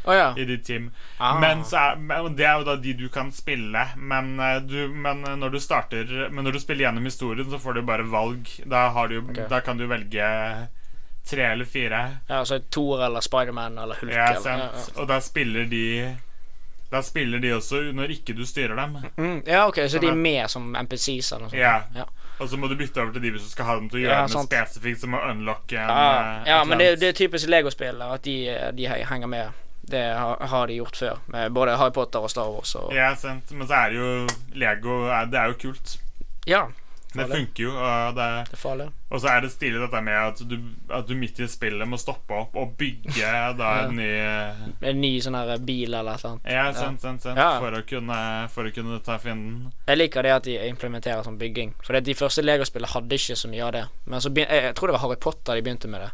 S2: Å ja.
S3: i ditt team.
S2: Ah.
S3: Men så er, men og det er jo da de du kan spille, men, eh, du, men eh, når du starter Men når du spiller gjennom historien, så får du bare valg. Da, har du, jo-
S2: Ok.
S3: da kan du velge tre eller fire.
S2: ja så Thor eller Spiderman eller Hulk.
S3: Ja,
S2: eller, ja,
S3: sant? Og da spiller de Da spiller de også når ikke du styrer dem.
S2: ja. Mm, ja, ok, så de er
S3: Sånn at-
S2: med som NPCs eller noe sånt?
S3: Ja.
S2: Ja.
S3: Og så må du bytte over til de hvis du skal ha dem til å gjøre
S2: Ja,
S3: noe
S2: sant.
S3: spesifikt, som å unlocke en
S2: Ja,
S3: eh,
S2: ja
S3: et
S2: men
S3: eller
S2: det,
S3: annet.
S2: det er typisk Lego-spill da, at de, eh, de he- henger med. Det har, har de gjort før, med både Harry Potter og Star Wars. Og,
S3: Ja, sant. Men så er det jo Lego er, Det er jo kult.
S2: ja,
S3: Det
S2: Farlig.
S3: funker jo. Og, det,
S2: det er farlig.
S3: og så er det stilig dette med at du, at du midt i spillet må stoppe opp og bygge da en ny
S2: En ny sånn her bil eller et eller annet.
S3: Ja, sant, sant, sant.
S2: Ja.
S3: For, å kunne, for å kunne ta fienden.
S2: Jeg liker det at de implementerer sånn bygging. For det, de første Lego-spillene hadde ikke så mye av det. Men så begyn- jeg, jeg tror det var Harry Potter de begynte med det.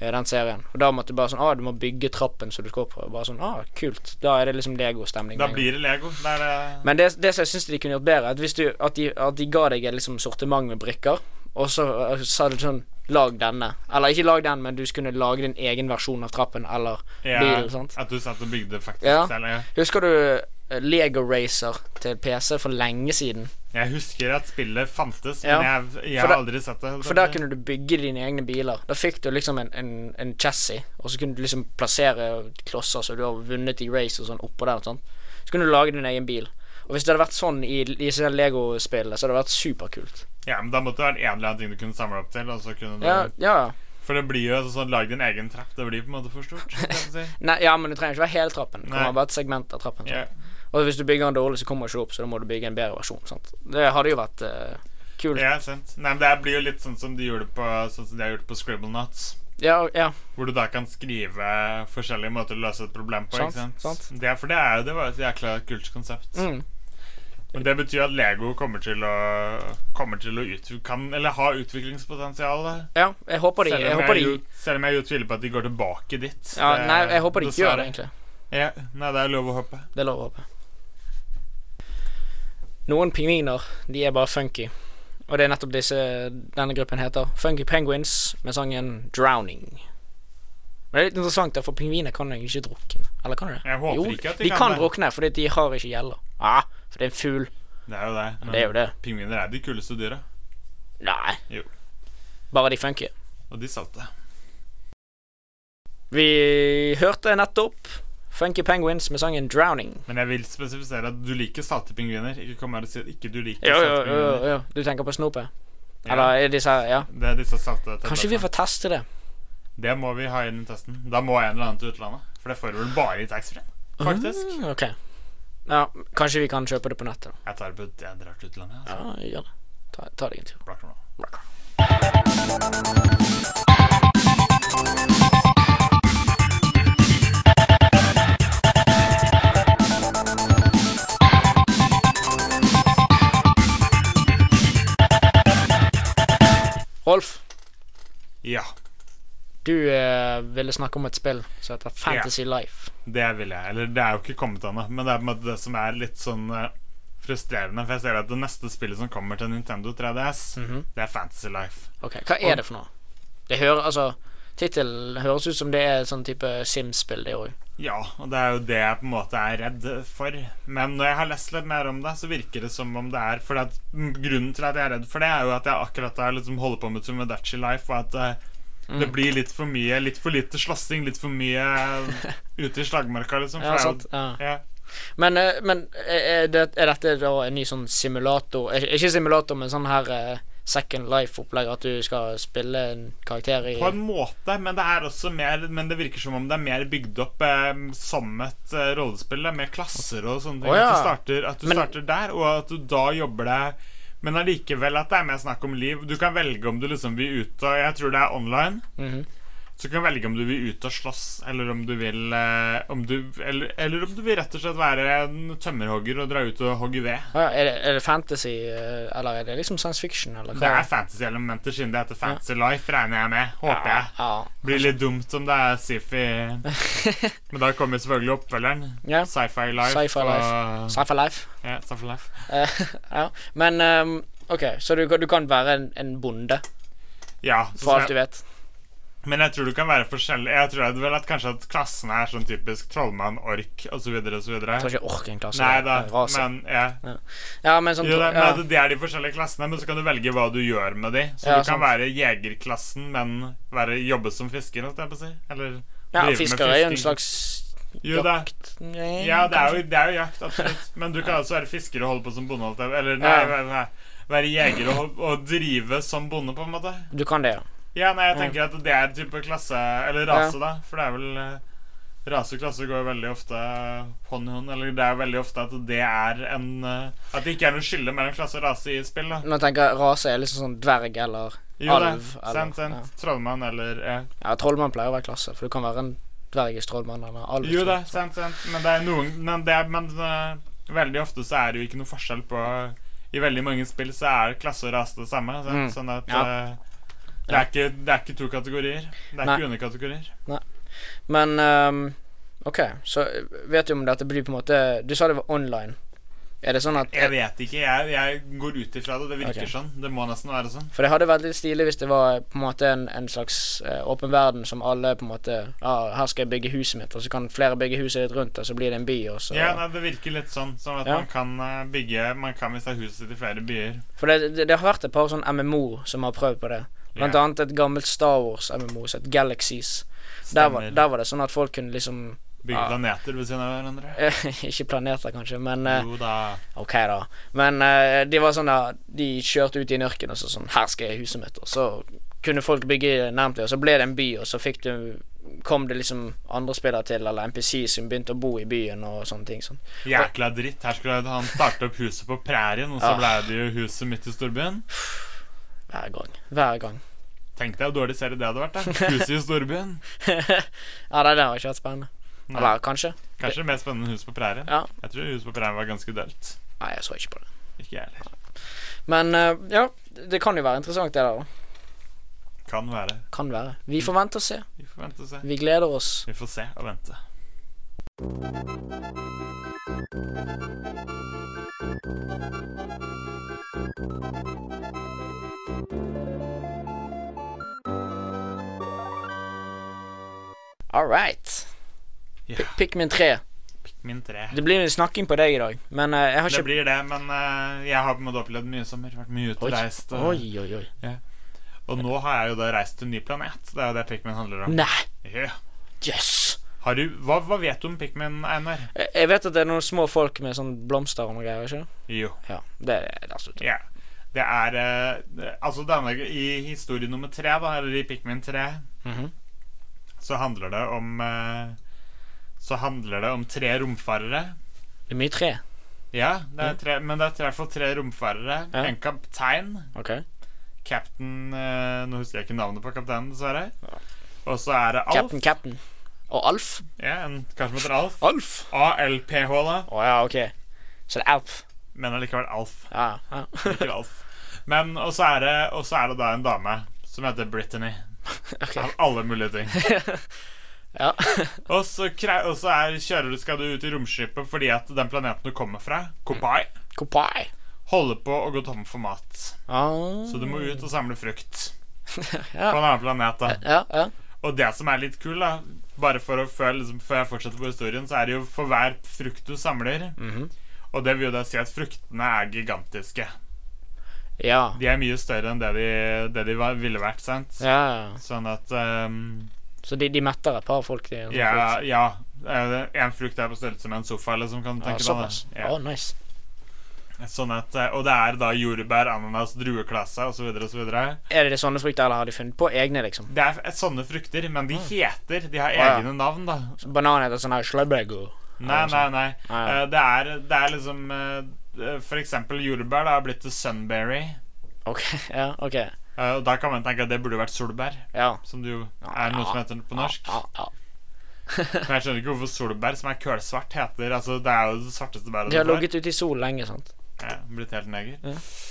S2: eh, Den serien. Og da måtte du bare sånn ah, du må bygge trappen som du skal opp på. Bare sånn ah, kult. Da er det liksom Lego-stemning.
S3: Da
S2: med en gang.
S3: blir det Lego. Det er det
S2: Men det, det som jeg syns de kunne gjort bedre, at, hvis du, at, de, at de ga deg et liksom sortiment med brikker, og så eh, sa du sånn Lag denne. Eller ikke lag den, men du skulle lage din egen versjon av trappen eller
S3: ja,
S2: bilen. sant?
S3: At du satt og bygde faktisk
S2: Ja.
S3: selv. Ja.
S2: Husker du eh, Lego Racer til PC for lenge siden?
S3: Jeg husker at spillet fantes,
S2: Ja.
S3: men jeg, jeg
S2: For
S3: har
S2: da-
S3: aldri sett det.
S2: For der kunne du bygge dine egne biler. Da fikk du liksom en, en, en chassis, og så kunne du liksom plassere klosser så du har vunnet i race og sånn oppå der. og sånn Så kunne du lage din egen bil. Og hvis det hadde vært sånn i, i sånne Lego-spillene, så hadde det vært superkult.
S3: Ja, men da måtte det være en eller annen ting du kunne samle opp til. Og så kunne du,
S2: Ja, ja.
S3: For det blir jo sånn Lag din egen trapp. Det blir på en måte for stort. skal jeg si.
S2: Nei, ja, men det trenger ikke være hele trappen. Det
S3: Nei.
S2: kommer bare et segment av trappen.
S3: ja.
S2: sant? Og hvis du bygger den dårlig, så kommer den ikke opp, så da må du bygge en bedre versjon. Sant? Det hadde jo vært eh, kult.
S3: ja, sant. Nei, men det blir jo litt sånn som de gjorde på Sånn som de har gjort på Scribble Nuts.
S2: Ja, ja.
S3: Hvor du da kan skrive forskjellige måter å løse et problem på.
S2: Sant,
S3: ikke sant?
S2: sant.
S3: Det, er- for det, er, jo- det var jo et jækla kult konsept.
S2: Mm.
S3: Men det betyr at Lego kommer til å Kommer til å utvi- kan, Eller har utviklingspotensial. da.
S2: ja jeg håper de,
S3: Selv
S2: jeg
S3: om
S2: håper
S3: jeg,
S2: de
S3: jo, selv om jeg jo tviler på at de går tilbake dit.
S2: ja,
S3: Det-
S2: Nei, jeg håper de ikke gjør det,
S3: dessverre.
S2: egentlig.
S3: Ja, nei, det er lov å håpe.
S2: Det er lov å håpe. Noen pingviner, de er bare funky. Og det er nettopp disse denne gruppen heter. Funky Penguins med sangen 'Drowning'. Men det er litt interessant, da, for pingviner kan jo ikke drukne. Eller kan de det?
S3: Jeg håper
S2: jo,
S3: ikke at de
S2: de
S3: kan
S2: kan
S3: det.
S2: drukne, fordi de har ikke gjeller. Ja, for det er en fugl.
S3: Det er jo det. Men
S2: Det er jo det.
S3: Pingviner er de kuleste dyra.
S2: Nei.
S3: Jo.
S2: Bare de funky.
S3: Og de salte.
S2: Vi hørte nettopp Funky Penguins med sangen 'Drowning'.
S3: Men jeg vil spesifisere at du liker salte pingviner. Ikke kom her og si at ikke du liker
S2: Jo, jo,
S3: salte
S2: jo,
S3: pingviner.
S2: jo. Du tenker på snopet?
S3: Ja.
S2: Eller er disse her Ja.
S3: Det er disse salte
S2: Kanskje vi
S3: tablettene.
S2: får teste det?
S3: Det må vi ha inn i testen. Da må en eller annen til utlandet. For det får du vel bare i taxfree. Faktisk.
S2: Mm, Ok. Ja, kanskje vi kan kjøpe det på nettet. da.
S3: Jeg tar det på Jeg drar til utlandet. Altså.
S2: Ja, gjør det. Ta, ta deg en tur.
S3: Black and roll. Ja,
S2: Du eh, ville snakke om et spill som heter Fantasy Life.
S3: det vil jeg. Eller det er jo ikke kommet ennå, men det er på en måte det som er litt sånn eh, frustrerende. For jeg ser at det neste spillet som kommer til Nintendo 3DS, det er Fantasy Life.
S2: Ok, Hva er det for noe? Det hører, altså Tittelen høres ut som det er sånn type Sims-spill, det òg.
S3: Ja, og det er jo det jeg på en måte er redd for. Men når jeg har lest litt mer om det, så virker det som om det er For at, mm, grunnen til at jeg er redd for det, er jo at jeg akkurat der liksom holder på med Tsumedachi Life, og at eh,
S2: Mm.
S3: det blir litt for mye, litt for lite slåssing, litt for mye ute i slagmarka, liksom. det
S2: Ja,
S3: er jo-
S2: sant, ja.
S3: ja.
S2: Men, eh, men er, det, er dette da en ny sånn simulator eh, Ikke simulator, men sånn her eh, Second Life-opplegg, at du skal spille en karakter i
S3: På en måte, men det er også mer Men det virker som om det er mer bygd opp eh, som et eh, rollespill. da, Med klasser og sånne ting.
S2: Å, ja.
S3: At du, starter, at du
S2: Men-
S3: starter der, og at du da jobber deg Men allikevel at det er mer snakk om liv. Du kan velge om du liksom vil ut og Jeg tror det er online.
S2: Mhm.
S3: Så du kan velge om du vil ut og slåss, eller om du vil eh, om du, eller, eller om du vil rett og slett være en tømmerhogger og dra ut og hogge ved.
S2: Å ja, er, det, er det fantasy, eh, eller er det liksom science fiction, eller hva?
S3: Det er fantasy-elementer siden det heter Fantasy Life, regner jeg med. Håper jeg.
S2: ja.
S3: Blir litt dumt om det er sci-fi Men da kommer selvfølgelig oppfølgeren.
S2: Ja.
S3: Sci-fi Life.
S2: Sci-fi
S3: og-
S2: Sci-fi life.
S3: Ja, sci-fi life.
S2: Eh, ja. Men ehm, OK, så du, kan- du kan være en, en bonde,
S3: Ja, så
S2: for
S3: skal
S2: alt du
S3: jeg,
S2: vet?
S3: men jeg tror du kan være forskjellig. Jeg tror at vel at kanskje at klassene er sånn typisk trollmann, ork osv.
S2: Jeg
S3: osv.
S2: tror ikke jeg orker en klasse.
S3: Nei
S2: det er en
S3: da,
S2: rase.
S3: men ja.
S2: ja, men sånn
S3: Jo, det,
S2: ja.
S3: men det er de forskjellige klassene, men så kan du velge hva du gjør med de. Så
S2: Ja,
S3: du kan
S2: sant.
S3: være jegerklassen, men være, jobbe som fisker, holdt jeg på å si. Eller
S2: ja,
S3: drive med
S2: fiskere er jo en
S3: fisking.
S2: slags
S3: Jo, det er-
S2: jakt Nei,
S3: Ja, det er,
S2: kanskje.
S3: jo, det er jo jakt, absolutt. Men du kan også være fisker og holde på som bonde. holdt jeg- Eller nei,
S2: Ja.
S3: nei, nei være jeger og, hol- og drive som bonde, på en måte.
S2: Du kan det, ja.
S3: Ja, nei, jeg tenker at det er type klasse Eller rase, da. For det er vel eh, Rase og klasse går jo veldig ofte hånd i hånd. Eller det er jo veldig ofte at det er en eh, At det ikke er noe skille mellom klasse og rase i spill. da
S2: Nå tenker jeg rase er liksom sånn dverg eller
S3: Jo, det.
S2: alv. eller-
S3: Sant, sant.
S2: ja.
S3: Trollmann eller eh,
S2: Ja, trollmann pleier å være klasse, for du kan være en dvergetrollmann eller alv.
S3: Jo
S2: tror
S3: da,
S2: jeg.
S3: sant, sant. Men det er noen Men, det er, men eh, veldig ofte så er det jo ikke noe forskjell på I veldig mange spill så er klasse og rase det samme. Sant?
S2: Mm.
S3: Sånn at
S2: Ja.
S3: eh, det, er ikke, det er ikke to kategorier. Det er
S2: Nei.
S3: ikke underkategorier.
S2: Men ehm, OK, så vet du om dette blir på en måte Du sa det var online. Er det sånn at
S3: Jeg vet ikke. Jeg, jeg går ut ifra det. Det virker
S2: Ok.
S3: sånn. Det må nesten være sånn.
S2: For det hadde vært litt stilig hvis det var på en måte en, en slags eh, åpen verden som alle på en måte Ja, her skal jeg bygge huset mitt, og så kan flere bygge huset ditt rundt, og så blir det en by, og så
S3: Ja, nei, Det virker litt sånn. Sånn at
S2: Eh. Ja.
S3: man kan eh, bygge Man kan miste huset sitt i flere byer.
S2: For det, det, det har vært et par sånn MMO som har prøvd på det. Blant
S3: Ja.
S2: annet et gammelt Star Wars-MMO som het Galaxies. Der var,
S3: Stemmer.
S2: der var det sånn at folk kunne liksom
S3: Bygge
S2: Ja.
S3: planeter ved siden av hverandre.
S2: Ikke planeter, kanskje, men eh,
S3: Jo da.
S2: OK, da. Men eh, de var sånn der De kjørte ut i en ørken og så sånn Her skal jeg huset mitt. Og så kunne folk bygge nærmt det, og så ble det en by, og så fikk du Kom det liksom andre spillere til, eller NPC som begynte å bo i byen og sånne ting. Sånn.
S3: Jækla dritt. Her skulle han starte opp huset på prærien,
S2: Ah.
S3: og så ble det jo huset midt i storbyen.
S2: Hver gang. Hver gang.
S3: Tenk deg hvor dårlig serie det hadde vært. da Huset i storbyen.
S2: Ja, det der har ikke vært spennende.
S3: Nei.
S2: Eller kanskje?
S3: Kanskje mer spennende enn Hus på prærien.
S2: Ja.
S3: Jeg tror Hus på prærien var ganske dølt.
S2: Nei, jeg så ikke på det.
S3: Ikke jeg heller.
S2: Men eh, ja, det kan jo være interessant det der, da.
S3: Kan være.
S2: Kan være. Vi får vente og se.
S3: Vi får vente og se.
S2: Vi gleder oss.
S3: Vi får se og vente.
S2: All right.
S3: Ja.
S2: Pi- Pikmin 3.
S3: Min tre.
S2: Det blir en snakking på deg i dag, men eh, jeg har
S3: Det
S2: ikke
S3: blir det, men eh, jeg har på en måte opplevd mye sommer. Vært mye ute og reist. eh.
S2: Oi,
S3: Og,
S2: oi, oi.
S3: og nå har jeg jo da reist til en ny planet. Det er jo det Pikmin handler om.
S2: Nei,
S3: Ja.
S2: jøss. Yes.
S3: Har du, hva, hva vet du om Pikmin, Einar?
S2: Jeg jeg vet at det er noen små folk med sånn blomster og noe greier, ikke
S3: Jo.
S2: Ja, det er der slutt.
S3: Ja. Det er eh, Altså, denne, i historie nummer tre, da, eller i Pikmin 3,
S2: Mhm.
S3: så handler det om eh, Så handler det om tre romfarere.
S2: Det er mye tre.
S3: Ja, det er tre, men det er tre- i hvert fall tre romfarere.
S2: Mm. Ja.
S3: En kaptein.
S2: OK.
S3: Captain eh, Nå husker jeg ikke navnet på kapteinen, dessverre. Og så er det Alf.
S2: Captain Captain. Og Alf.
S3: Ja, en kar som heter Alf.
S2: Alf.
S3: ALPH, da.
S2: Å ja, OK. Så det er Alf.
S3: Men allikevel Alf.
S2: Ja. ja.
S3: Ikke Alf. Men, og så er det, og så er det da en dame som heter Brittany. Av alle mulige ting.
S2: Ja.
S3: Og så, kre- og så er, kjører du, skal du ut i romskipet fordi at den planeten du kommer fra, Kopai,
S2: Kopai.
S3: holder på å gå tom for mat.
S2: Ah.
S3: Så du må ut og samle frukt
S2: Ja.
S3: på en annen planet. da
S2: Ja, ja.
S3: Og det som er litt kul, da Bare for å føle, liksom, før jeg fortsetter på historien, så er det jo for hver frukt du samler
S2: Mhm.
S3: Og det vil jo da si at fruktene er gigantiske.
S2: Ja.
S3: De er mye større enn det de, det de var, ville vært, sant?
S2: ja.
S3: Sånn at ehm,
S2: Så de, de metter et par folk? sånn De,
S3: Ja. ja eh, en frukt er på størrelse med en sofa, eller som kan du
S2: Ja,
S3: tenke deg.
S2: såpass.
S3: da.
S2: Ja.
S3: Ja.
S2: nice.
S3: Sånn at, eh, og det er da jordbær, ananas, drueklasse osv. osv.
S2: Er det sånne frukter, eller har de funnet på egne, liksom?
S3: Det er f- sånne frukter, men de heter De har
S2: Mm. ja.
S3: egne navn, da.
S2: Så banan heter sånn her sløbego.
S3: Nei, nei, nei.
S2: Nei, sånn. ja.
S3: Eh, Det, er, det er liksom eh, eh, For eksempel jordbær da, har blitt til sunberry.
S2: Ok, ja, ok.
S3: Eh, Og da kan man tenke at det burde vært solbær,
S2: Ja.
S3: som det jo er noe som heter på norsk.
S2: Ja, ja.
S3: Men jeg skjønner ikke hvorfor solbær, som er kølsvart, heter Altså, det er jo det svarteste bæret
S2: De har
S3: du får.
S2: ligget ute i sol lenge, sant?
S3: Ja, blitt helt neger.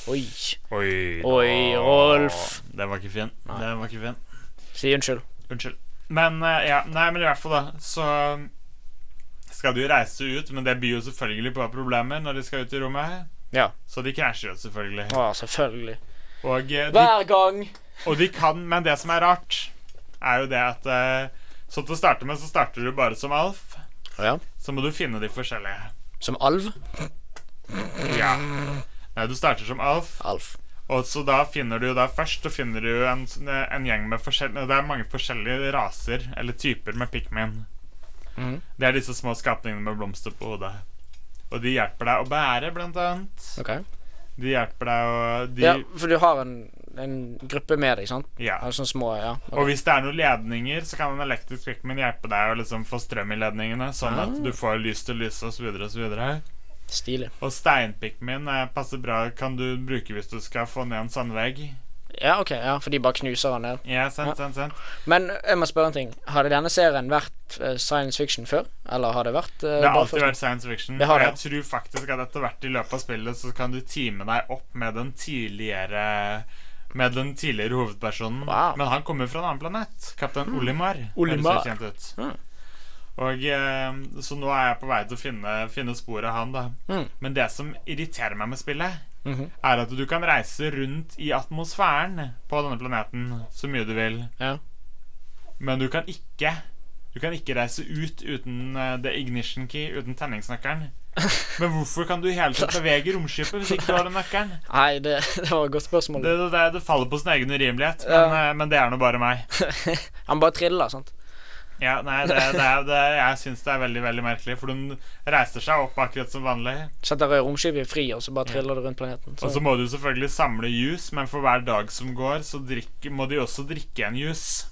S2: Oi.
S3: Oi,
S2: Oi, Rolf.
S3: Den var ikke fin. Den var ikke fin.
S2: Si unnskyld.
S3: Unnskyld. Men eh, ja, nei, men i hvert fall, da, så um, skal de jo reise ut, men det byr jo selvfølgelig på problemer når de skal ut i rommet.
S2: Ja.
S3: Så de krasjer jo selvfølgelig.
S2: Å, selvfølgelig.
S3: Og, eh, de,
S2: Hver gang.
S3: og de kan, men det som er rart, er jo det at eh, Så til å starte med, så starter du bare som Alf.
S2: Ja.
S3: Så må du finne de forskjellige.
S2: Som alv.
S3: Ja. Nei, du starter som Alf,
S2: Alf.
S3: og så da finner du da først så finner du en, sånn, eh, en gjeng med forskjellige Det er mange forskjellige raser eller typer med pikmin. Det er disse små skapningene med blomster på hodet. Og de hjelper deg å bære, blant annet.
S2: Ok.
S3: De hjelper deg å de,
S2: Ja, for du har en, en gruppe med deg, sant?
S3: Ja.
S2: Ja, Sånne små, ja.
S3: Og hvis det er noen ledninger, så kan en elektrisk pikmin hjelpe deg å liksom få strøm i ledningene, sånn at du får lys til lys osv. Og, så videre.
S2: Stilig.
S3: og steinpikmin eh, passer bra, kan du bruke hvis du skal få ned en sandvegg.
S2: Ja, ok, ja, for de bare knuser han ned.
S3: Ja, sant, sant, sant.
S2: Men jeg må spørre en ting. Hadde denne serien vært eh, science fiction før? Eller har det vært eh,
S3: Det har
S2: bare
S3: alltid
S2: først-
S3: vært science fiction.
S2: Det har
S3: og
S2: det,
S3: jeg tror faktisk at etter hvert i løpet av spillet så kan du time deg opp med den tidligere med den tidligere hovedpersonen.
S2: Wow. Hmm.
S3: Men han kommer fra en annen planet. Kaptein Olimar.
S2: Olimar.
S3: Høres jo kjent ut.
S2: Mm.
S3: Og eh, Så nå er jeg på vei til å finne, finne sporet av han, da.
S2: Mm.
S3: Men det som irriterer meg med spillet,
S2: Mhm.
S3: er at du kan reise rundt i atmosfæren på denne planeten så mye du vil,
S2: Ja.
S3: men du kan ikke Du kan ikke reise ut uten eh, the ignition key, uten tenningsnøkkelen. Men hvorfor kan du i hele tatt bevege romskipet hvis ikke du har den nøkkelen?
S2: Nei, det, det var et godt spørsmål.
S3: Det, det, det faller på sin egen urimelighet, men,
S2: Ja.
S3: eh, men det er nå bare meg.
S2: Han bare triller, sant?
S3: Ja, nei, det, det, er- det, Jeg syns det er veldig veldig merkelig, for den reiser seg opp akkurat som vanlig.
S2: Setter romskipet i fri, og så bare triller det rundt planeten.
S3: Og
S2: Så.
S3: så må du selvfølgelig samle juice, men for hver dag som går, så drikk, må de også drikke en juice.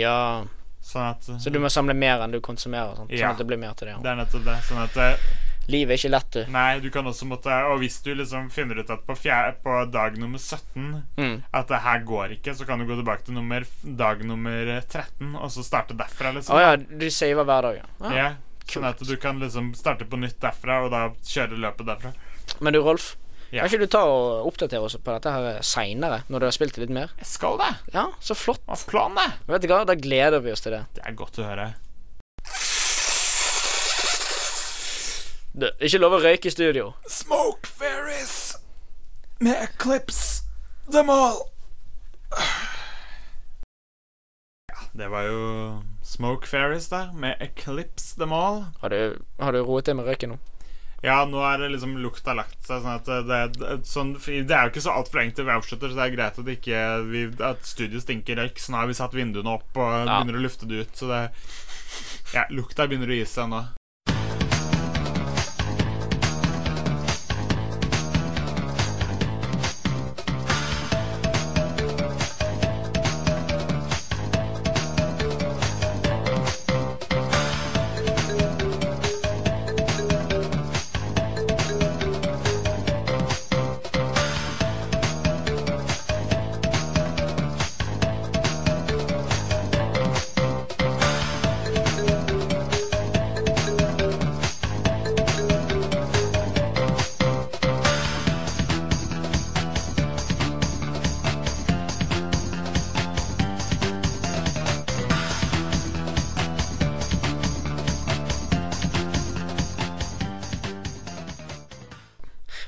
S2: Ja.
S3: Sånn at
S2: Så du må samle mer enn du konsumerer, sant?
S3: Ja.
S2: sånn at det blir mer til det.
S3: Det er nettopp det. Sånn at eh,
S2: Livet er ikke lett, du.
S3: Nei, du kan også måtte Og hvis du liksom finner ut at på, fjer- på dag nummer 17
S2: Mm.
S3: at det her går ikke, så kan du gå tilbake til nummer, f- dag nummer 13 og så starte derfra,
S2: Å
S3: liksom.
S2: ja, du saver hver dag, ja. ja.
S3: ja. Sånn at du kan liksom starte på nytt derfra, og da kjøre løpet derfra.
S2: Men du, Rolf.
S3: Ja.
S2: Kan ikke du ta og oppdatere oss på dette her seinere, når du har spilt litt mer?
S3: Jeg skal det!
S2: Ja, så flott.
S3: Hva er planen, det?
S2: Vet du hva, da gleder vi oss til det.
S3: Det er godt å høre.
S2: Du, ikke lov å røyke i studio.
S3: Smoke fairies med Eclipse them all. Ja, det var jo Smoke fairies, da, med Eclipse them all.
S2: Har du, har du roet deg med røyken nå?
S3: Ja, nå er det liksom lukta lagt seg. Sånn at det, det, sånn, det er jo ikke så altfor lenge til vi avslutter, så det er greit at, ikke, vi, at studiet stinker røyk. Så nå har vi satt vinduene opp og
S2: Ja.
S3: begynner å lufte det ut. Så det Ja, lukta begynner å gi seg nå.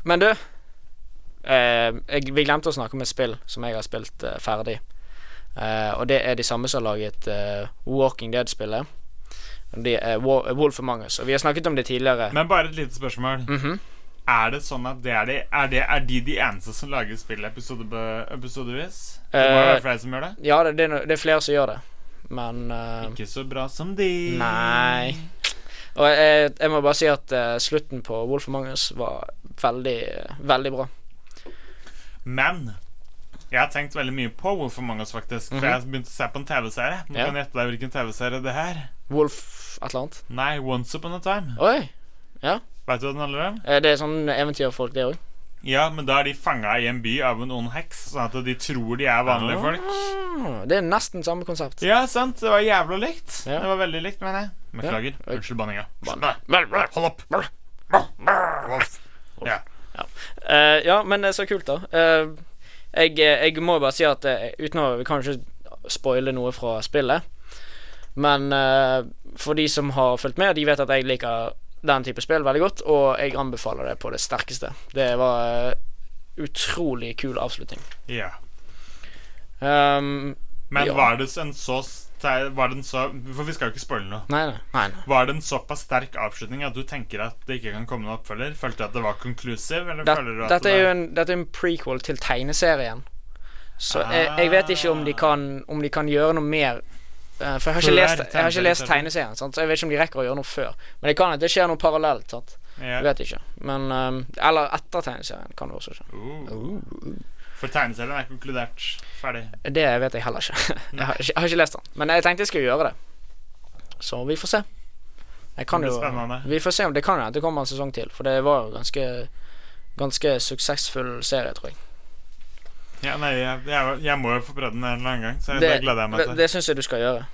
S2: Men du eh, jeg, Vi glemte å snakke om et spill som jeg har spilt eh, ferdig. Eh, og det er de samme som har laget eh, Walking Dead-spillet. Det er Wa- eh, Wolf Among Us. Og vi har snakket om det tidligere.
S3: Men bare et lite spørsmål.
S2: Mhm.
S3: Er det sånn at det er de, er det, er de, de eneste som lager spill episode, episodevis? Det må jo
S2: Eh,
S3: være flere som gjør det?
S2: Ja, det, det, er no- det er flere som gjør det, men eh,
S3: Ikke så bra som de.
S2: Nei. Og jeg, jeg må bare si at eh, slutten på Wolf Among Us var veldig, eh, veldig bra.
S3: Men jeg har tenkt veldig mye på Wolf Among Us, faktisk. For jeg begynte å se på en TV-serie. Du
S2: Mhm. Ja.
S3: kan gjette deg hvilken TV-serie det her
S2: Wolf et eller annet.
S3: Nei, Once Upon a Time.
S2: Oi!
S3: Vet du hva den handler om?
S2: eh, Det er sånn eventyrfolk, det òg.
S3: Ja, men da er de fanga i en by av en ond heks, sånn at de tror de er vanlige folk.
S2: Hmm, Det er nesten samme konsept.
S3: Ja, sant. Det var jævla likt.
S2: Ja.
S3: Det var veldig likt, mener jeg. Beklager.
S2: Oi.
S3: Unnskyld banninga.
S2: Hold
S3: opp. Ja.
S2: Eh, ja, men det er så kult, da. Eh, jeg, jeg må bare si at eh, uten å Vi kan jo ikke spoile noe fra spillet. Men eh, for de som har fulgt med, de vet at jeg liker den type spill veldig godt, og jeg anbefaler det på det sterkeste. Det var eh, utrolig kul avslutning.
S3: ja.
S2: Um,
S3: Men
S2: Ja.
S3: var det en så ster- Var det en så For vi skal jo ikke spoile noe.
S2: nei, nei, nei, nei.
S3: Var det en såpass sterk avslutning at du tenker at det ikke kan komme noen oppfølger? Følte du at det var konklusiv, eller
S2: Det,
S3: føler du at
S2: dette
S3: det
S2: er jo en, dette er en prequel til tegneserien. Så jeg, jeg vet ikke om de kan, om de kan gjøre noe mer. eh, for jeg har
S3: Før
S2: ikke lest, jeg har ikke
S3: tegneserien.
S2: lest tegneserien, sant? så jeg vet ikke om de rekker å gjøre noe før. Men det kan at det skjer noe parallelt. Sant? Jeg
S3: ja.
S2: vet ikke. Men, eh, eller etter tegneserien kan det også skje.
S3: uh. For tegneserien er konkludert. Ferdig.
S2: Det vet jeg heller ikke. jeg, har ikke jeg har ikke lest den. Men jeg tenkte jeg skulle gjøre det. Så vi får se. Jeg kan
S3: Det blir
S2: jo
S3: spennende.
S2: Vi får se om det kan hende det kommer en sesong til. For det var jo ganske Ganske suksessfull serie, tror jeg.
S3: Ja, nei, jeg, jeg, jeg må jo få prøvd den en eller annen gang, så det,
S2: Det,
S3: gleder jeg meg
S2: det,
S3: til.
S2: det syns jeg du skal gjøre.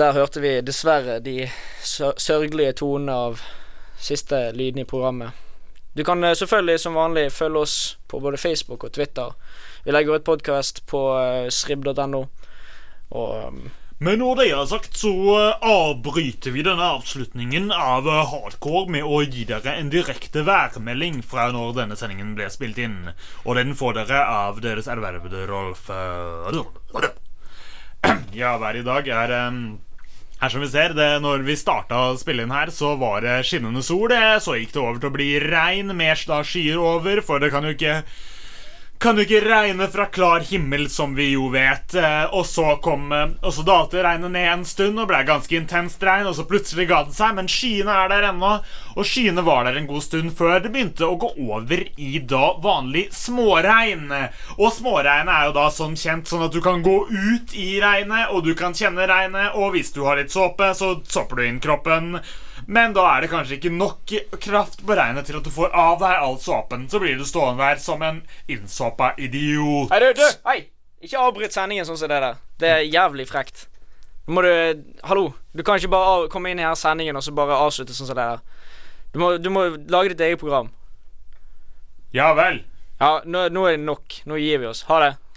S2: Der hørte vi dessverre de sør- sørgelige tonene av siste lyden i programmet. Du kan eh, selvfølgelig som vanlig følge oss på både Facebook og Twitter. Vi legger ut podkast på eh, srib.no. Og um,
S3: Men når det er sagt, så eh, avbryter vi denne avslutningen av eh, Hardcore med å gi dere en direkte værmelding fra når denne sendingen ble spilt inn. Og den får dere av deres ervervede Rolf eh, Ja, været i dag er eh, her som vi ser, det, når vi starta å spille inn her, så var det skinnende sol. det, Så gikk det over til å bli regn, mer da skyer over, for det kan jo ikke kan jo ikke regne fra klar himmel, som vi jo vet. Eh, Og så kom eh, Og så dalte regnet ned en stund og ble ganske intenst regn, og så plutselig ga det seg, men skyene er der ennå. Og skyene var der en god stund før det begynte å gå over i da vanlig småregn. Og småregn er jo da som kjent sånn at du kan gå ut i regnet, og du kan kjenne regnet, og hvis du har litt såpe, så såper du inn kroppen. Men da er det kanskje ikke nok kraft på regnet til at du får av deg all såpen. Så blir du stående der som en innsåpa idiot.
S2: Hei, du, du! Hei! Ikke avbryt sendingen sånn som det der. Det er jævlig frekt. Nå må du Hallo. Du kan ikke bare av, komme inn i her sendingen og så bare avslutte sånn som det der. Du må, du må lage ditt eget program.
S3: Ja vel.
S2: Ja, nå, nå er det nok. Nå gir vi oss. Ha det.